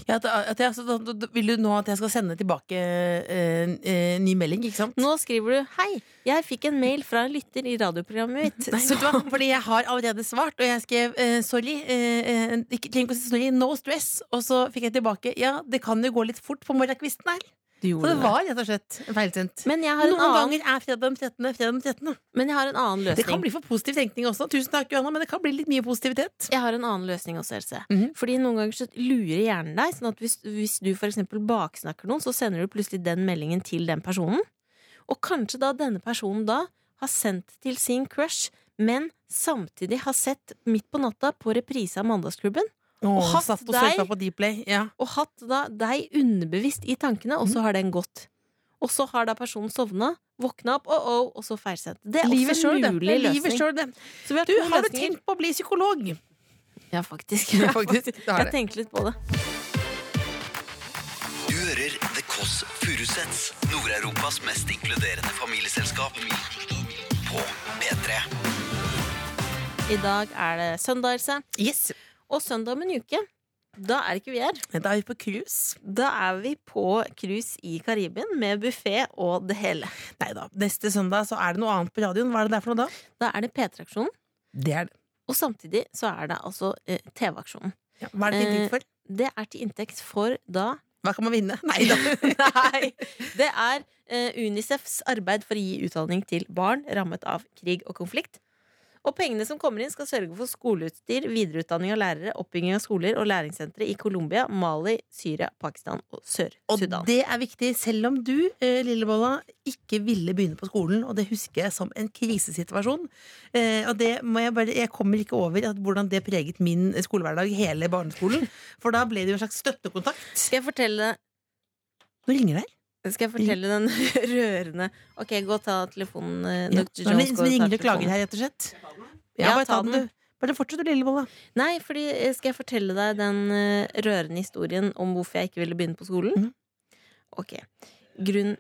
Speaker 4: Ja, at, at jeg, altså, da- da- da- vil du nå at jeg skal sende tilbake eh, eh, ny melding, ikke sant?
Speaker 3: Nå skriver du 'Hei, jeg fikk en mail fra en lytter i radioprogrammet mitt'.
Speaker 4: Nei,
Speaker 3: Så-
Speaker 4: vet du hva? Fordi jeg har allerede svart, og jeg skrev eh, 'sorry'. Eh, eh, ikke, trenger ikke å si 'sorry', no stress. Og så fikk jeg tilbake 'ja, det kan jo gå litt fort på morgenkvisten her'. Så det var rett og slett feilsendt.
Speaker 3: Men jeg har en
Speaker 4: Noen
Speaker 3: annen,
Speaker 4: ganger er fredag den 13. fredag den 13.
Speaker 3: men jeg har en annen løsning.
Speaker 4: Det kan bli for positiv tenkning også. Tusen takk, Johanna, men det kan bli litt mye positivitet.
Speaker 3: Jeg har en annen løsning også, Else.
Speaker 4: Mhm.
Speaker 3: Fordi noen ganger så lurer hjernen deg. Sånn at hvis, hvis du for eksempel baksnakker noen, så sender du plutselig den meldingen til den personen. Og kanskje da denne personen da har sendt til sin crush, men samtidig har sett Midt på natta på reprise av Mandagsklubben.
Speaker 4: Og
Speaker 3: hatt
Speaker 4: satt og
Speaker 3: deg-
Speaker 4: surfa på Dplay. Ja.
Speaker 3: Og hatt da deg underbevisst i tankene, og så har den gått. Og så har da personen sovna, våkna opp, oh, oh, og så feilsendt. Det er
Speaker 4: Livet
Speaker 3: også
Speaker 4: sjøl,
Speaker 3: en
Speaker 4: det.
Speaker 3: mulig
Speaker 4: Det er Livet
Speaker 3: løsning.
Speaker 4: sjøl, det.
Speaker 3: Så vi har
Speaker 4: Du,
Speaker 3: to
Speaker 4: har du
Speaker 3: løsninger.
Speaker 4: tenkt på å bli psykolog?
Speaker 3: Ja, faktisk.
Speaker 4: Ja, faktisk. Det har
Speaker 3: Jeg
Speaker 4: det.
Speaker 3: tenkte litt på det.
Speaker 2: Du hører The Kåss Furuseths, Nord-Europas mest inkluderende familieselskap på P3.
Speaker 3: I dag er det søndag, Else.
Speaker 4: Yes.
Speaker 3: Og søndag om en uke, da er det ikke vi her.
Speaker 4: Da er vi på cruise.
Speaker 3: Da er vi på cruise i Karibien med buffé og det hele.
Speaker 4: Nei da. Neste søndag så er det noe annet på radioen. Hva er det der for noe da?
Speaker 3: Da er det P3-aksjonen,
Speaker 4: Det er det.
Speaker 3: og samtidig så er det altså eh, TV-aksjonen.
Speaker 4: Ja, hva er det til
Speaker 3: Eh,
Speaker 4: inntekt for?
Speaker 3: Det er til inntekt for da
Speaker 4: Hva kan man vinne? Nei da.
Speaker 3: Nei! Det er eh, Unicefs arbeid for å gi utdanning til barn rammet av krig og konflikt. Og pengene som kommer inn, skal sørge for skoleutstyr, videreutdanning av lærere, oppbygging av skoler og læringssentre i Colombia, Mali, Syria, Pakistan og
Speaker 4: Og
Speaker 3: Sør-Sudan.
Speaker 4: det er viktig, selv om du, eh, Lillebolla, ikke ville begynne på skolen, og det husker jeg som en krisesituasjon. Eh, og det må jeg bare Jeg kommer ikke over at hvordan det preget min skolehverdag hele barneskolen. For da ble det jo en slags støttekontakt.
Speaker 3: Skal jeg fortelle
Speaker 4: Nå ringer det her.
Speaker 3: Skal jeg fortelle den rørende Ok, gå og ta telefonen. eh, Dr.
Speaker 4: Ja. Nå er det
Speaker 3: Jones,
Speaker 4: en
Speaker 3: gå og
Speaker 4: som
Speaker 3: ta
Speaker 4: ringer og
Speaker 3: telefonen.
Speaker 4: klager her, rett og slett.
Speaker 3: Ja,
Speaker 4: Ja, bare ta
Speaker 3: ta den.
Speaker 4: den, du. Bare fortsett, du, Lillebolla.
Speaker 3: Nei, fordi eh, skal jeg fortelle deg den eh, rørende historien om hvorfor jeg ikke ville begynne på skolen?
Speaker 4: Mhm.
Speaker 3: Ok. Grunn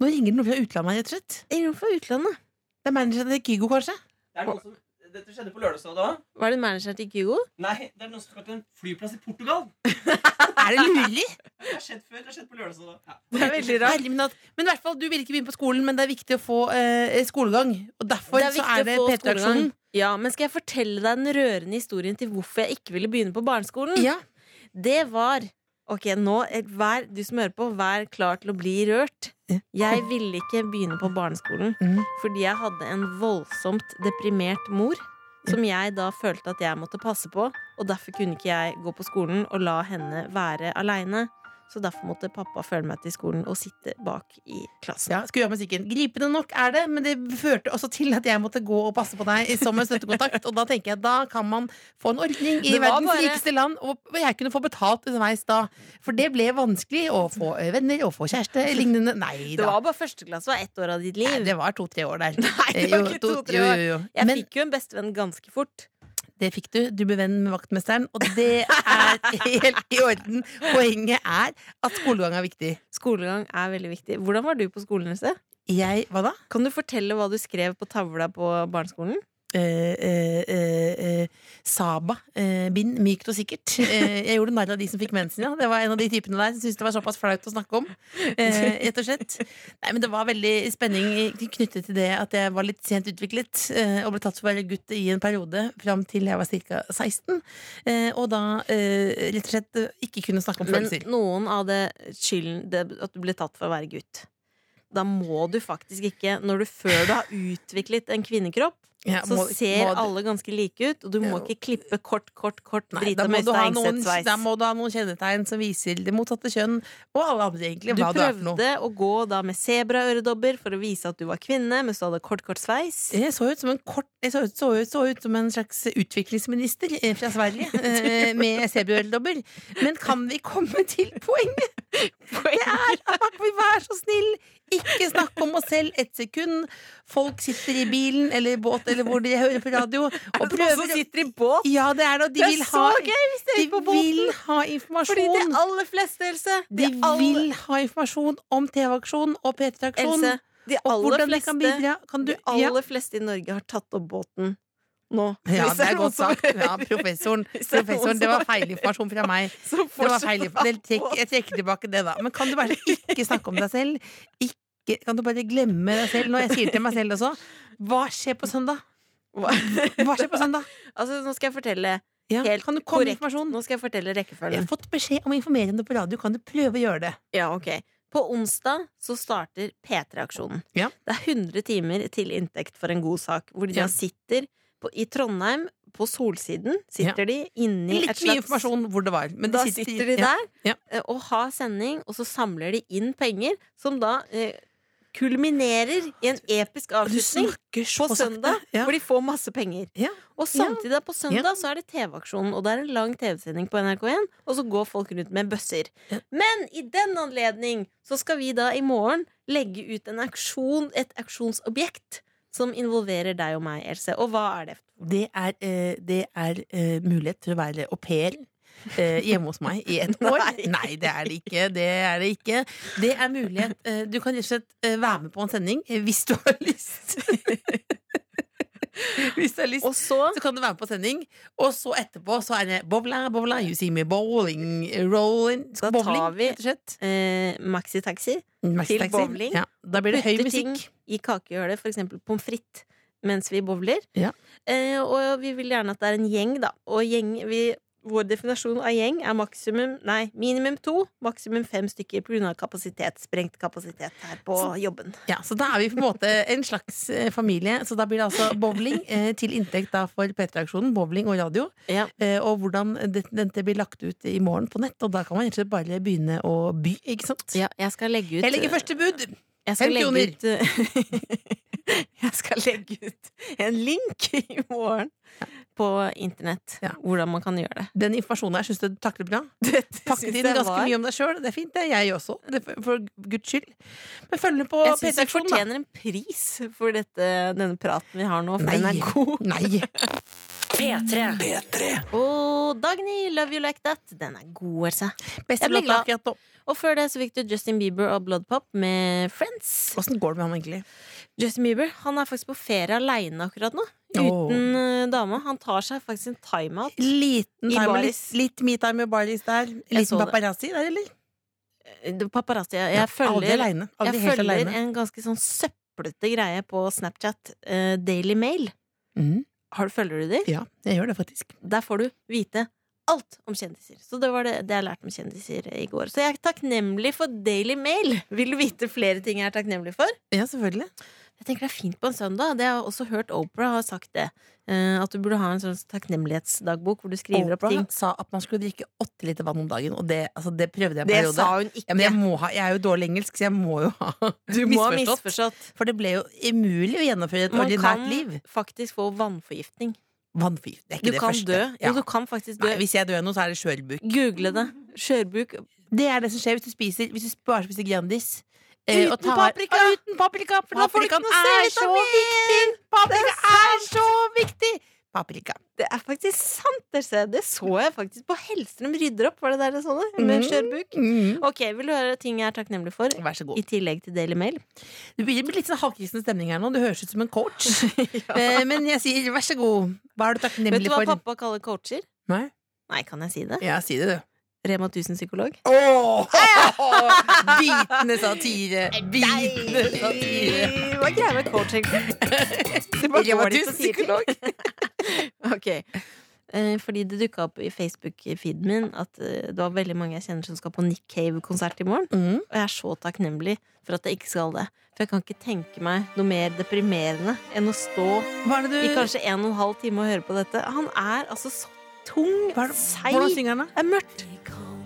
Speaker 4: Nå ringer det noe fra utlandet, her, rett og slett.
Speaker 3: Jeg ringer fra utlandet.
Speaker 4: Det er manageren til Kygo, kanskje?
Speaker 1: Det er noe som, dette skjedde på lørdag, sa du da?
Speaker 3: Var det manageren til Kygo?
Speaker 1: Nei, det er noen som skal til en flyplass i Portugal.
Speaker 4: Er det lulig?
Speaker 1: Det har skjedd før. det har skjedd på lørdag, sa du da. Ja.
Speaker 3: Det er veldig rart.
Speaker 4: Herlig, men, at, men i hvert fall, du vil ikke begynne på skolen, men det er viktig å få eh, skolegang. Og derfor
Speaker 3: Det er
Speaker 4: så
Speaker 3: viktig
Speaker 4: er det
Speaker 3: å få
Speaker 4: P3-aksjonen.
Speaker 3: skolegang. Ja, men skal jeg fortelle deg den rørende historien til hvorfor jeg ikke ville begynne på barneskolen?
Speaker 4: Ja.
Speaker 3: Det var Ok, nå, eh, vær, du som hører på, vær klar til å bli rørt. Jeg ville ikke begynne på barneskolen.
Speaker 4: Mm.
Speaker 3: fordi jeg hadde en voldsomt deprimert mor som jeg da følte at jeg måtte passe på, og derfor kunne ikke jeg gå på skolen og la henne være aleine. Så derfor måtte pappa følge meg til skolen og sitte bak i klassen.
Speaker 4: Ja, skru av musikken. Gripende nok er det, men det førte også til at jeg måtte gå og passe på deg som en støttekontakt. Og da tenker jeg, da kan man få en ordning i
Speaker 3: Det var
Speaker 4: verdens
Speaker 3: bare-
Speaker 4: rikeste land, og jeg kunne få betalt underveis da. For det ble vanskelig å få eh, venner og få kjæreste lignende. Nei
Speaker 3: Det
Speaker 4: da.
Speaker 3: var bare første klasse, det var ett år av ditt liv.
Speaker 4: Nei, det var to-tre år der.
Speaker 3: Nei, det
Speaker 4: Eh,
Speaker 3: var
Speaker 4: jo,
Speaker 3: ikke
Speaker 4: to-
Speaker 3: to-tre
Speaker 4: jo,
Speaker 3: år.
Speaker 4: jo, jo.
Speaker 3: Jeg
Speaker 4: Men
Speaker 3: fikk jo en bestevenn ganske fort.
Speaker 4: det fikk du. Du ble venn med vaktmesteren, og det er helt i orden. Poenget er at skolegang er viktig.
Speaker 3: Skolegang er veldig viktig. Hvordan var du på skolen? Else?
Speaker 4: Jeg Hva da?
Speaker 3: Kan du fortelle hva du skrev på tavla på barneskolen?
Speaker 4: eh, eh, eh, eh, Saba eh, bind, mykt og sikkert. Eh, jeg gjorde narr av de som fikk mensen, ja. Det var en av de typene der som syntes det var såpass flaut å snakke om. Eh, rett og slett. Nei, men det var veldig spenning i- knyttet til det at jeg var litt sent utviklet eh, og ble tatt for å være gutt i en periode fram til jeg var ca. 16. Eh, og da eh, rett og slett eh, ikke kunne snakke om
Speaker 3: Men
Speaker 4: følelser.
Speaker 3: noen av det skylden det, at du ble tatt for å være gutt. Da må du faktisk ikke, når du før du har utviklet en kvinnekropp,
Speaker 4: Ja,
Speaker 3: så
Speaker 4: må-
Speaker 3: ser
Speaker 4: må-
Speaker 3: alle ganske like ut, og du må
Speaker 4: Ja.
Speaker 3: ikke klippe kort, kort, kort,
Speaker 4: Nei,
Speaker 3: drita
Speaker 4: da, må
Speaker 3: med
Speaker 4: du ha noen,
Speaker 3: steinsett-sveis.
Speaker 4: da må du ha noen kjennetegn som viser det motsatte kjønn, og alle andre egentlig,
Speaker 3: Du
Speaker 4: hva du er for noe.
Speaker 3: prøvde å gå da med sebraøredobber for å vise at du var kvinne, mens du hadde kort, kort sveis.
Speaker 4: Jeg så ut som en kort Jeg så ut, så ut, så ut som en slags utviklingsminister eh, fra Sverige eh, med sebrøldobber. Men kan vi komme til poenget? Det er at vi Vær så snill, ikke snakk om oss selv et sekund. Folk sitter i bilen eller i båt eller hvor de hører på radio og prøver å-
Speaker 3: sitter i båt?
Speaker 4: Ja, det er det, og de
Speaker 3: Det er
Speaker 4: vil
Speaker 3: så
Speaker 4: ha
Speaker 3: gøy hvis det
Speaker 4: De
Speaker 3: er på
Speaker 4: vil
Speaker 3: båten!
Speaker 4: ha
Speaker 3: Fordi de
Speaker 4: informasjon.
Speaker 3: aller fleste, Else
Speaker 4: De vil ha informasjon om TV-aksjon og P3-aksjon.
Speaker 3: Else, de
Speaker 4: Og
Speaker 3: aller
Speaker 4: hvordan de kan
Speaker 3: fleste
Speaker 4: bidra. Kan du
Speaker 3: De aller fleste i Norge har tatt opp båten nå.
Speaker 4: Ja,
Speaker 3: Hvis
Speaker 4: det er
Speaker 3: noen
Speaker 4: godt
Speaker 3: som
Speaker 4: sagt.
Speaker 3: hører.
Speaker 4: Ja, professoren,
Speaker 3: Hvis det er noen
Speaker 4: professoren, det
Speaker 3: som
Speaker 4: var
Speaker 3: hører.
Speaker 4: feilinformasjon fra meg.
Speaker 3: Så
Speaker 4: Det var
Speaker 3: fortsatt
Speaker 4: feil,
Speaker 3: har
Speaker 4: det trekk,
Speaker 3: båt.
Speaker 4: jeg trekker tilbake det, da. Men kan du bare ikke snakke om deg selv? Ikke, kan du bare glemme deg selv? Når jeg sier til meg selv også Hva skjer på søndag? Hva skjer på søndag?
Speaker 3: Altså, nå skal jeg fortelle
Speaker 4: Ja,
Speaker 3: helt
Speaker 4: kan du komme med
Speaker 3: korrekt.
Speaker 4: informasjon?
Speaker 3: Nå skal jeg fortelle
Speaker 4: Jeg
Speaker 3: rekkefølgen.
Speaker 4: har fått beskjed om å informere om det på radio. Kan du prøve å gjøre det?
Speaker 3: Ja, ok På onsdag så starter P3-aksjonen.
Speaker 4: Ja.
Speaker 3: Det er 100 timer til inntekt for en god sak, hvor de
Speaker 4: Ja.
Speaker 3: da sitter på, i Trondheim, på Solsiden, sitter de inni
Speaker 4: Litt mye informasjon hvor det var. Men
Speaker 3: da
Speaker 4: det
Speaker 3: sitter de
Speaker 4: ja.
Speaker 3: der
Speaker 4: Ja.
Speaker 3: eh, og har sending, og så samler de inn penger, som da eh, kulminerer i en episk
Speaker 4: Og Du
Speaker 3: avslutning
Speaker 4: snakker så
Speaker 3: på
Speaker 4: sakte.
Speaker 3: søndag,
Speaker 4: Ja.
Speaker 3: hvor de får masse penger.
Speaker 4: Ja.
Speaker 3: Og samtidig da, på søndag så er det TV-aksjonen, og det er en lang TV-sending på NRK1, og så går folk rundt med bøsser.
Speaker 4: Ja.
Speaker 3: Men i den anledning så skal vi da i morgen legge ut en aksjon, et aksjonsobjekt, som involverer deg og meg, Else. Og hva er det?
Speaker 4: Det er, eh, det er eh, mulighet til å være au pair. eh, hjemme hos meg i ett år?
Speaker 3: Nei.
Speaker 4: Nei, det er det ikke. Det er det ikke. Det er mulighet eh, Du kan rett og slett eh, være med på en sending eh, hvis du har lyst. hvis du har lyst.
Speaker 3: Og så
Speaker 4: Så kan du være med på sending, og så etterpå så er det bowla, bowla, you see me bowling, rolling
Speaker 3: Da tar
Speaker 4: bowling,
Speaker 3: vi-
Speaker 4: rett og slett.
Speaker 3: eh, maxitaxi.
Speaker 4: Maxi
Speaker 3: til
Speaker 4: Taxi.
Speaker 3: bowling.
Speaker 4: Ja, da blir det høy
Speaker 3: putter ting
Speaker 4: musikk.
Speaker 3: i kakehjølet, for eksempel pommes frites, mens vi bowler.
Speaker 4: Ja.
Speaker 3: Eh, og vi vil gjerne at det er en gjeng, da. Og gjeng, vi, vår definasjon av gjeng er maksimum, nei, minimum to, maksimum fem stykker pga. kapasitet. Sprengt kapasitet her på jobben.
Speaker 4: Ja, så da er vi på en måte en slags eh, familie. Så da blir det altså bowling eh, til inntekt da for P3-aksjonen. Bowling og radio.
Speaker 3: Ja.
Speaker 4: Eh, og hvordan det- dette blir lagt ut i morgen på nett. Og da kan man rett og slett bare begynne å by, ikke sant?
Speaker 3: jeg skal legge ut
Speaker 4: Jeg legger første bud!
Speaker 3: Jeg
Speaker 4: skal
Speaker 3: skal
Speaker 4: Fem
Speaker 3: legge ut Jeg skal legge ut en link i morgen på internett.
Speaker 4: Ja.
Speaker 3: Hvordan man kan gjøre det.
Speaker 4: Den informasjonen her syns du du takler bra. Pakket
Speaker 3: synes
Speaker 4: inn
Speaker 3: jeg
Speaker 4: ganske
Speaker 3: var-
Speaker 4: mye om deg sjøl. Det er fint, det. Jeg også. Det, for, for guds skyld. Men følg med på
Speaker 3: Jeg syns vi
Speaker 4: P3-aksjonen, da.
Speaker 3: fortjener en pris for dette, denne praten vi har nå, for den er god.
Speaker 4: Nei.
Speaker 2: P3
Speaker 3: Og Dagny, Love You Like That, den er god, Else.
Speaker 4: Beste
Speaker 3: Jeg blir
Speaker 4: låta
Speaker 3: glad.
Speaker 4: akkurat nå.
Speaker 3: Og før det så fikk du Justin Bieber og Blood Pop med Friends.
Speaker 4: Åssen går det med han egentlig?
Speaker 3: Justin Bieber han er faktisk på ferie aleine akkurat nå,
Speaker 4: Åh.
Speaker 3: uten eh, dame. Han tar seg faktisk en timeout.
Speaker 4: Liten
Speaker 3: I
Speaker 4: time, og litt,
Speaker 3: baris.
Speaker 4: litt me-time med Barlis der.
Speaker 3: så
Speaker 4: Liten
Speaker 3: det.
Speaker 4: paparazzi der, eller?
Speaker 3: Eh, Paparazzi. Jeg, jeg
Speaker 4: Aldri
Speaker 3: følger,
Speaker 4: aleine. Aldri
Speaker 3: jeg
Speaker 4: helt
Speaker 3: følger
Speaker 4: aleine.
Speaker 3: en ganske sånn søplete greie på Snapchat. eh, Daily Mail. Mm.
Speaker 4: Mhm.
Speaker 3: Har, følger du de?
Speaker 4: Ja, jeg gjør det faktisk.
Speaker 3: Der får du vite alt om kjendiser. Så det var det, det jeg lærte om kjendiser i går. Så jeg er takknemlig for Daily Mail. Vil du vite flere ting jeg er takknemlig for?
Speaker 4: Ja, selvfølgelig.
Speaker 3: Jeg tenker det er fint på en søndag. Det har jeg også hørt Oprah har sagt det. Eh, At du burde ha en sånn takknemlighetsdagbok hvor du skriver opp ting.
Speaker 4: Oprah sa at man skulle drikke åtte liter vann om dagen, og det, altså, det prøvde jeg en
Speaker 3: Det
Speaker 4: periode.
Speaker 3: sa hun
Speaker 4: ja,
Speaker 3: ikke.
Speaker 4: men jeg, må ha, jeg er jo dårlig i engelsk, så jeg må jo ha
Speaker 3: du må ha misforstått.
Speaker 4: For det ble jo umulig å gjennomføre et
Speaker 3: Man
Speaker 4: ordinært
Speaker 3: kan
Speaker 4: liv.
Speaker 3: faktisk få vannforgiftning.
Speaker 4: Vannforgiftning det er ikke
Speaker 3: Du
Speaker 4: det
Speaker 3: kan
Speaker 4: første.
Speaker 3: dø.
Speaker 4: Ja.
Speaker 3: Jo, du kan faktisk dø.
Speaker 4: Nei, hvis jeg dør nå, så er det skjørbuk.
Speaker 3: Google det. Skjørbuk.
Speaker 4: Det er det som skjer hvis du spiser Hvis du bare spiser Grandis. Eh,
Speaker 3: Uten paprika!
Speaker 4: Ja, uten paprika! For da får du ikke
Speaker 3: Paprikaen
Speaker 4: noe
Speaker 3: er så
Speaker 4: C-vitamin! Paprika er så viktig! Paprika.
Speaker 3: Det er faktisk sant! Det ser jeg. Det så jeg faktisk på Hellstrøm rydder opp, var det der det sånne? Med
Speaker 4: Mm.
Speaker 3: skjørbuk. Ok, vil du høre ting jeg er takknemlig for?
Speaker 4: Vær så god.
Speaker 3: I tillegg til Daily Mail.
Speaker 4: Du begynner å bli litt sånn halvkristen stemning her nå. Du høres ut som en coach. Eh, Men jeg sier vær så god. Hva er du
Speaker 3: Vet
Speaker 4: takknemlig
Speaker 3: du hva
Speaker 4: for?
Speaker 3: pappa kaller coacher?
Speaker 4: Nei?
Speaker 3: Nei, kan jeg si det?
Speaker 4: Ja, si det, du.
Speaker 3: Rema 1000-psykolog.
Speaker 4: Åh! Bitende satire. Bitende satire.
Speaker 3: Hva er greia med coach, egentlig? Det bare
Speaker 4: Rema
Speaker 3: går dit og sier ting.
Speaker 4: 1000-psykolog.
Speaker 3: Ok. Eh, Fordi det dukka opp i Facebook-feeden min at eh, det var veldig mange jeg kjenner som skal på Nick Cave-konsert i morgen.
Speaker 4: Mm.
Speaker 3: Og jeg er så takknemlig for at jeg ikke skal det. For jeg kan ikke tenke meg noe mer deprimerende enn å stå
Speaker 4: Hva er det
Speaker 3: i
Speaker 4: du
Speaker 3: kanskje en og en halv time og høre på dette. Han er altså så tung,
Speaker 4: hva er det,
Speaker 3: seig.
Speaker 4: Hvordan synger han, da?
Speaker 3: Det er mørkt.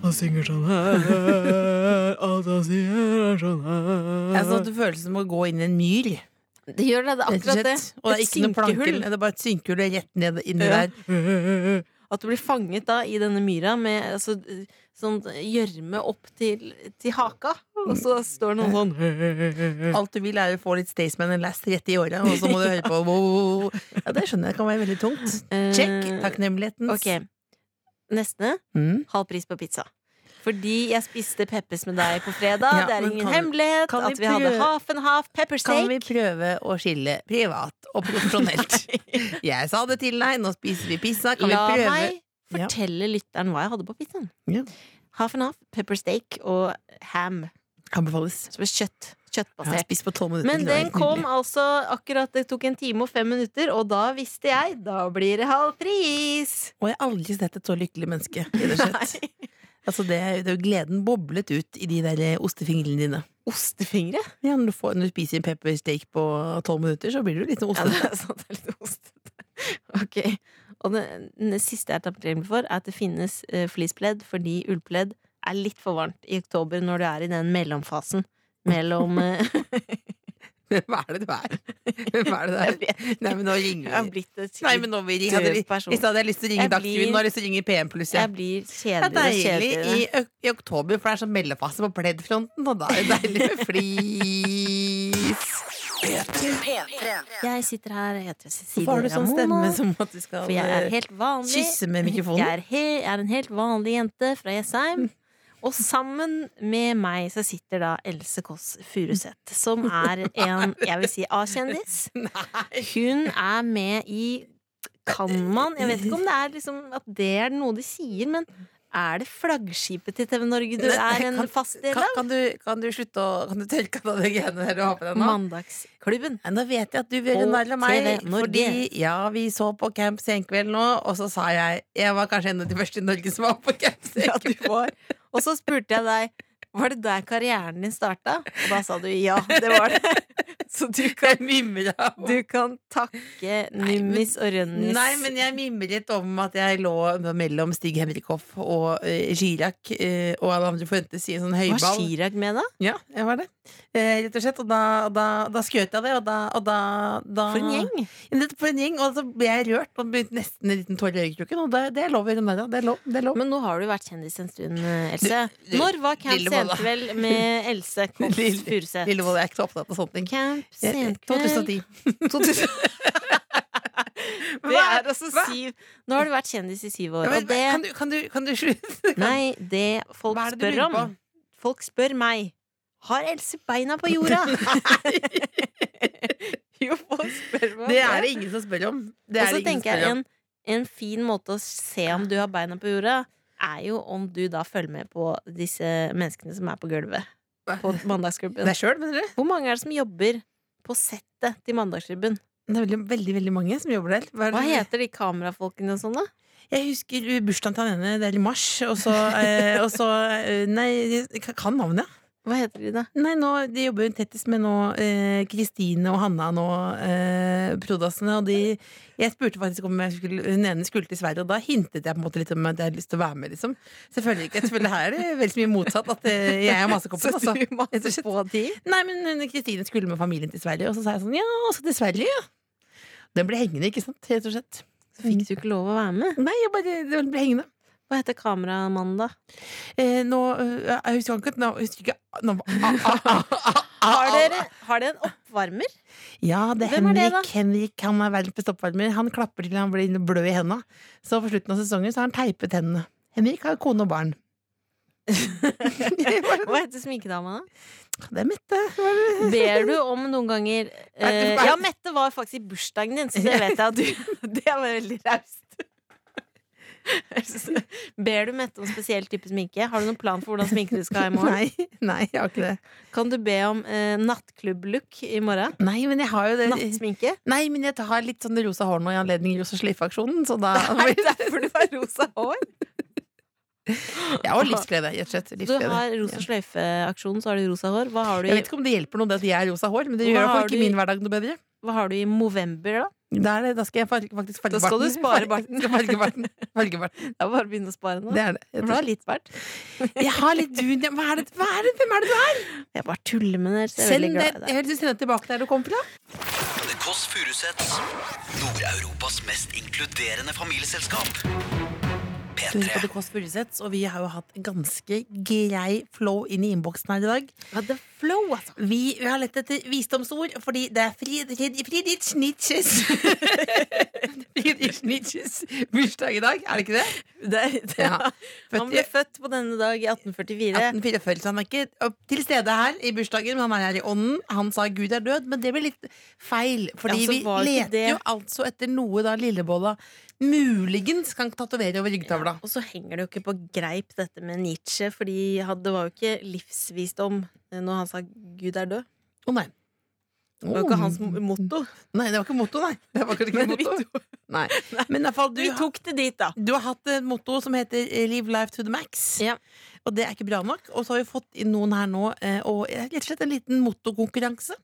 Speaker 6: Han synger sånn her, alt han sier er sånn her.
Speaker 4: Altså, det føles som å gå inn i en myr.
Speaker 3: Det gjør det, det er
Speaker 4: rett
Speaker 3: akkurat det.
Speaker 4: slett. Og det er
Speaker 3: Et
Speaker 4: ikke noe planker.
Speaker 3: synkehull.
Speaker 4: Det er bare et synkehull rett ned inni
Speaker 3: Ja.
Speaker 4: der.
Speaker 3: At du blir fanget da i denne myra med altså, sånn gjørme opp til, til haka. Og så står noen sånn
Speaker 4: Alt du vil, er å få litt Staysman and Last rett i året, og så må du høre på wow. Ja, det skjønner jeg kan være veldig tungt. Check.
Speaker 3: eh,
Speaker 4: Takknemlighetens.
Speaker 3: Ok. Neste.
Speaker 4: Mm.
Speaker 3: Halv pris på pizza. Fordi jeg spiste peppers med deg på fredag.
Speaker 4: Ja,
Speaker 3: det er
Speaker 4: men
Speaker 3: ingen
Speaker 4: kan-
Speaker 3: hemmelighet
Speaker 4: kan vi
Speaker 3: at vi hadde
Speaker 4: prøve-
Speaker 3: half and half pepper
Speaker 4: Kan
Speaker 3: steak.
Speaker 4: vi prøve å skille privat og profesjonelt? jeg sa det til deg, nå spiser vi pizza. Kan
Speaker 3: La
Speaker 4: vi prøve
Speaker 3: meg
Speaker 4: Ja.
Speaker 3: fortelle lytteren hva jeg hadde på pizzaen.
Speaker 4: Ja.
Speaker 3: Half and half pepper steak og ham.
Speaker 4: Anbefales.
Speaker 3: Som er kjøtt.
Speaker 4: Jeg har
Speaker 3: Kjøttbasert.
Speaker 4: spist på tolv minutter.
Speaker 3: Men
Speaker 4: det var
Speaker 3: den
Speaker 4: helt
Speaker 3: kom
Speaker 4: nydelig.
Speaker 3: altså akkurat Det tok en time og fem minutter, og da visste jeg. Da blir det halv pris!
Speaker 4: Og jeg har aldri sett et så lykkelig menneske. rett og slett.
Speaker 3: Nei.
Speaker 4: Altså, det, er- det er jo gleden boblet ut i de der eh, ostefingrene dine.
Speaker 3: Ostefingre?
Speaker 4: Ja, når, du får, når du spiser en peppersteak på tolv minutter, så blir du litt sånn
Speaker 3: Ja,
Speaker 4: ostete.
Speaker 3: det er sant. Altså, Det er litt ostete. Ok. Og det, det siste jeg er takknemlig for, er at det finnes uh, fleecepledd fordi ullpledd er litt for varmt i oktober når du er i den mellomfasen mellom eh,
Speaker 4: Hva er det du er? Hva er det
Speaker 3: Jeg
Speaker 4: du er? Nei, men nå ringer
Speaker 3: Jeg har
Speaker 4: vi.
Speaker 3: blitt et
Speaker 4: Nei, men nå vil jeg,
Speaker 3: død
Speaker 4: hadde,
Speaker 3: person.
Speaker 4: I stedet hadde jeg lyst til å ringe
Speaker 3: Jeg
Speaker 4: Dagsrevyen,
Speaker 3: blir-
Speaker 4: nå har jeg lyst til å ringe PM pluss. Ja.
Speaker 3: Jeg blir
Speaker 4: Det er
Speaker 3: kjedeligere og
Speaker 4: deilig i,
Speaker 3: kjedeligere.
Speaker 4: øk- i oktober, for det er sånn mellomfase på pleddfronten, og da er det deilig med flis.
Speaker 3: Jeg sitter her, jeg heter Cecilie
Speaker 4: Hvorfor har du sånn
Speaker 3: Ramona,
Speaker 4: stemme som at du skal
Speaker 3: for jeg er
Speaker 4: eh,
Speaker 3: helt vanlig.
Speaker 4: kysse med
Speaker 3: Jeg
Speaker 4: mikrofonen?
Speaker 3: er, he jeg er en helt vanlig jente fra Jessheim. Og sammen med meg så sitter da Else Kåss Furuseth, som er en, jeg vil si, A-kjendis.
Speaker 4: Nei.
Speaker 3: Hun er med i Kan man? Jeg vet ikke om det er liksom at det er noe de sier, men er det flaggskipet til TV Norge du
Speaker 4: Nei, nei,
Speaker 3: er en
Speaker 4: kan-
Speaker 3: fast del
Speaker 4: Kan,
Speaker 3: av?
Speaker 4: kan, du, kan du slutte å Kan du tørke av deg greiene der du har på deg nå?
Speaker 3: Mandagsklubben.
Speaker 4: Nei, Nå vet jeg at du vil gjøre
Speaker 3: På
Speaker 4: narr av meg,
Speaker 3: TV Norge.
Speaker 4: fordi ja, vi så på Camp Senkveld nå, og så sa jeg Jeg var kanskje en av de første i Norge som var på Camp
Speaker 3: Ja, du
Speaker 4: Senkveld.
Speaker 3: var. Og så spurte jeg deg var det der karrieren din starta? Og da sa du ja, det var det. Så du kan,
Speaker 4: Jeg mimra.
Speaker 3: du kan takke
Speaker 4: men-
Speaker 3: Nummis og Rønnis.
Speaker 4: Nei, men jeg mimret om at jeg lå mellom Stig Henrik Hoff og eh, Chirac eh, og alle andre forventes i en sånn
Speaker 3: Var
Speaker 4: høyball.
Speaker 3: Chirag med, da?
Speaker 4: Ja, jeg var det. Eh, rett og slett. Og da, da, da skjøt jeg det, og da, og da, da
Speaker 3: For en gjeng!
Speaker 4: Ja, det- For en gjeng. Og så ble jeg rørt og begynte nesten en liten tåre i øyekroken, og det, det er lov å gjøre narr av. Det er lov. Det er lov.
Speaker 3: Men nå har du vært kjendis en stund, eh, Else.
Speaker 4: Du- du-
Speaker 3: Når var Camp
Speaker 4: Lille Bolla.
Speaker 3: Senkveld med Else Kåss
Speaker 4: Lille-
Speaker 3: Furuseth?
Speaker 4: Lillevold, jeg er ikke så opptatt av sånne ting.
Speaker 3: Camp
Speaker 4: Eh, eh,
Speaker 3: Senkveld
Speaker 4: 2010.
Speaker 3: Det er altså syv Nå har du vært kjendis i syv år,
Speaker 4: Ja, men,
Speaker 3: og det
Speaker 4: kan, du, kan, du, kan du slutte?
Speaker 3: Nei, det folk
Speaker 4: Hva er det du
Speaker 3: spør
Speaker 4: lurer
Speaker 3: om
Speaker 4: på?
Speaker 3: Folk spør meg Har Else beina på jorda? jo, folk spør meg
Speaker 4: Det er det ingen som spør om. Det
Speaker 3: Og
Speaker 4: er
Speaker 3: så
Speaker 4: det ingen som
Speaker 3: tenker
Speaker 4: spør
Speaker 3: jeg en,
Speaker 4: om.
Speaker 3: en fin måte å se om du har beina på jorda Er jo om du da følger med på disse menneskene som er på gulvet På mandagsklubben
Speaker 4: Deg sjøl, mener du?
Speaker 3: Hvor mange er det som jobber på settet til mandagsklubben?
Speaker 4: Det er veldig, veldig veldig mange som jobber der. er det-
Speaker 3: Hva heter de kamerafolkene og sånn da?
Speaker 4: Jeg husker bursdagen til han ene, det er i mars, og så, eh, og så eh, Nei, jeg kan navnet,
Speaker 3: Hva heter de, da?
Speaker 4: Nei, nå, De jobber jo tettest med nå eh, Kristine og Hanna nå, eh, prodassene. Og de, jeg spurte faktisk om jeg skulle, hun ene skulle til Sverige, og da hintet jeg på en måte litt om at jeg hadde lyst til å være med. liksom Selvfølgelig ikke, selvfølgelig Her er det veldig så mye motsatt. At eh, jeg er masekoppen. Altså. Rett og slett. Nei, men hun, Kristine skulle med familien til Sverige, og så sa jeg sånn Ja, også til Sverige, ja. Den ble hengende, ikke sant? Rett og slett.
Speaker 3: Så fikk du ikke lov å være med.
Speaker 4: Nei, jeg bare, den ble hengende.
Speaker 3: Hva heter kameramannen, da?
Speaker 4: Eh, nå, eh, jeg husker ikke, nå, jeg husker ikke nå, ah, ah, ah, ah,
Speaker 3: Har dere, har dere en oppvarmer?
Speaker 4: Ja, det er
Speaker 3: Hvem er det,
Speaker 4: Henrik. Henrik han er verdens beste oppvarmer. Han klapper til han blir blød i henda. Så på slutten av sesongen så har han teipet hendene. Henrik har kone og barn.
Speaker 3: Hva heter sminkedama, da?
Speaker 4: Det er Mette.
Speaker 3: Ber du om noen ganger eh, Ja, Mette var faktisk i bursdagen din, så det vet jeg at du Det var veldig raust. Ber du Mette om spesiell type sminke? Har du noen plan for hvordan sminke du skal ha i morgen?
Speaker 4: Nei, nei, jeg har ikke det.
Speaker 3: Kan du be om eh, nattklubb-look i morgen? Eh,
Speaker 4: Nei, men jeg har jo det.
Speaker 3: Nattsminke?
Speaker 4: Nei, men jeg har litt sånn rosa hår nå i anledning rosa sløyfe-aksjonen, så da
Speaker 3: Er det derfor du har rosa hår?
Speaker 4: Ja, og livsglede, rett og slett.
Speaker 3: Du
Speaker 4: Livsglede.
Speaker 3: har rosa
Speaker 4: Ja.
Speaker 3: sløyfe-aksjonen, så har du rosa hår. Hva har du
Speaker 4: Jeg
Speaker 3: i,
Speaker 4: vet ikke om det hjelper noe det at jeg har rosa hår, men det
Speaker 3: Hva
Speaker 4: gjør i hvert
Speaker 3: har
Speaker 4: fall
Speaker 3: du
Speaker 4: ikke
Speaker 3: i-
Speaker 4: min hverdag noe bedre.
Speaker 3: hva har du i Movember, da?
Speaker 4: Da, er det, da skal jeg far- faktisk farge
Speaker 3: Da skal du spare barten.
Speaker 4: Skal farge barten. Farge barten.
Speaker 3: Det er bare å begynne å spare nå.
Speaker 4: Det er det.
Speaker 3: For
Speaker 4: rett og
Speaker 3: du har
Speaker 4: slett.
Speaker 3: litt bart.
Speaker 4: Jeg har litt dun ja, Hva er det? Hva er det? Hvem er det du er?
Speaker 3: Jeg bare tuller med dere. så jeg er
Speaker 4: Send
Speaker 3: veldig
Speaker 4: det,
Speaker 3: glad i deg.
Speaker 4: jeg vil sende det tilbake der du kom fra.
Speaker 2: The Kåss Furuseths. Nord-Europas mest inkluderende familieselskap.
Speaker 4: Du hører på
Speaker 2: P3.
Speaker 4: The Kåss Furuseths, og vi har jo hatt en ganske grei flow inn i innboksen her i dag.
Speaker 3: Ja, det er flow, altså.
Speaker 4: Vi, vi har lett etter visdomsord, fordi det er Frid- Frid- Friedrich Nietzsches Friedrich Nietzsches bursdag i dag, er det ikke det? Ja.
Speaker 3: Han ble født på denne dag i 1844.
Speaker 4: 1844, så han er ikke opp- til stede her i bursdagen, men han er her i ånden. Han sa Gud er død, men det ble litt feil. Fordi
Speaker 3: Ja, så var
Speaker 4: vi
Speaker 3: det ikke
Speaker 4: leter
Speaker 3: det.
Speaker 4: jo altså etter noe da Lillebolla muligens kan tatovere over ryggtavla.
Speaker 3: Og så henger det jo ikke på greip, dette med Nietzsche, fordi han- det var jo ikke livsvisdom eh, når han sa 'Gud er død'.
Speaker 4: Å nei.
Speaker 3: Det var jo ikke hans
Speaker 4: Oh.
Speaker 3: motto.
Speaker 4: Nei, det var ikke motto, nei. Det var kanskje ikke
Speaker 3: Men vi
Speaker 4: motto. Nei. Men i hvert fall, du,
Speaker 3: Vi tok det dit, da.
Speaker 4: du har hatt et motto som heter eh, 'Live life to the max'.
Speaker 3: Ja.
Speaker 4: Og det er ikke bra nok. Og så har vi fått inn noen her nå, eh, og eh, rett og slett en liten mottokonkurranse.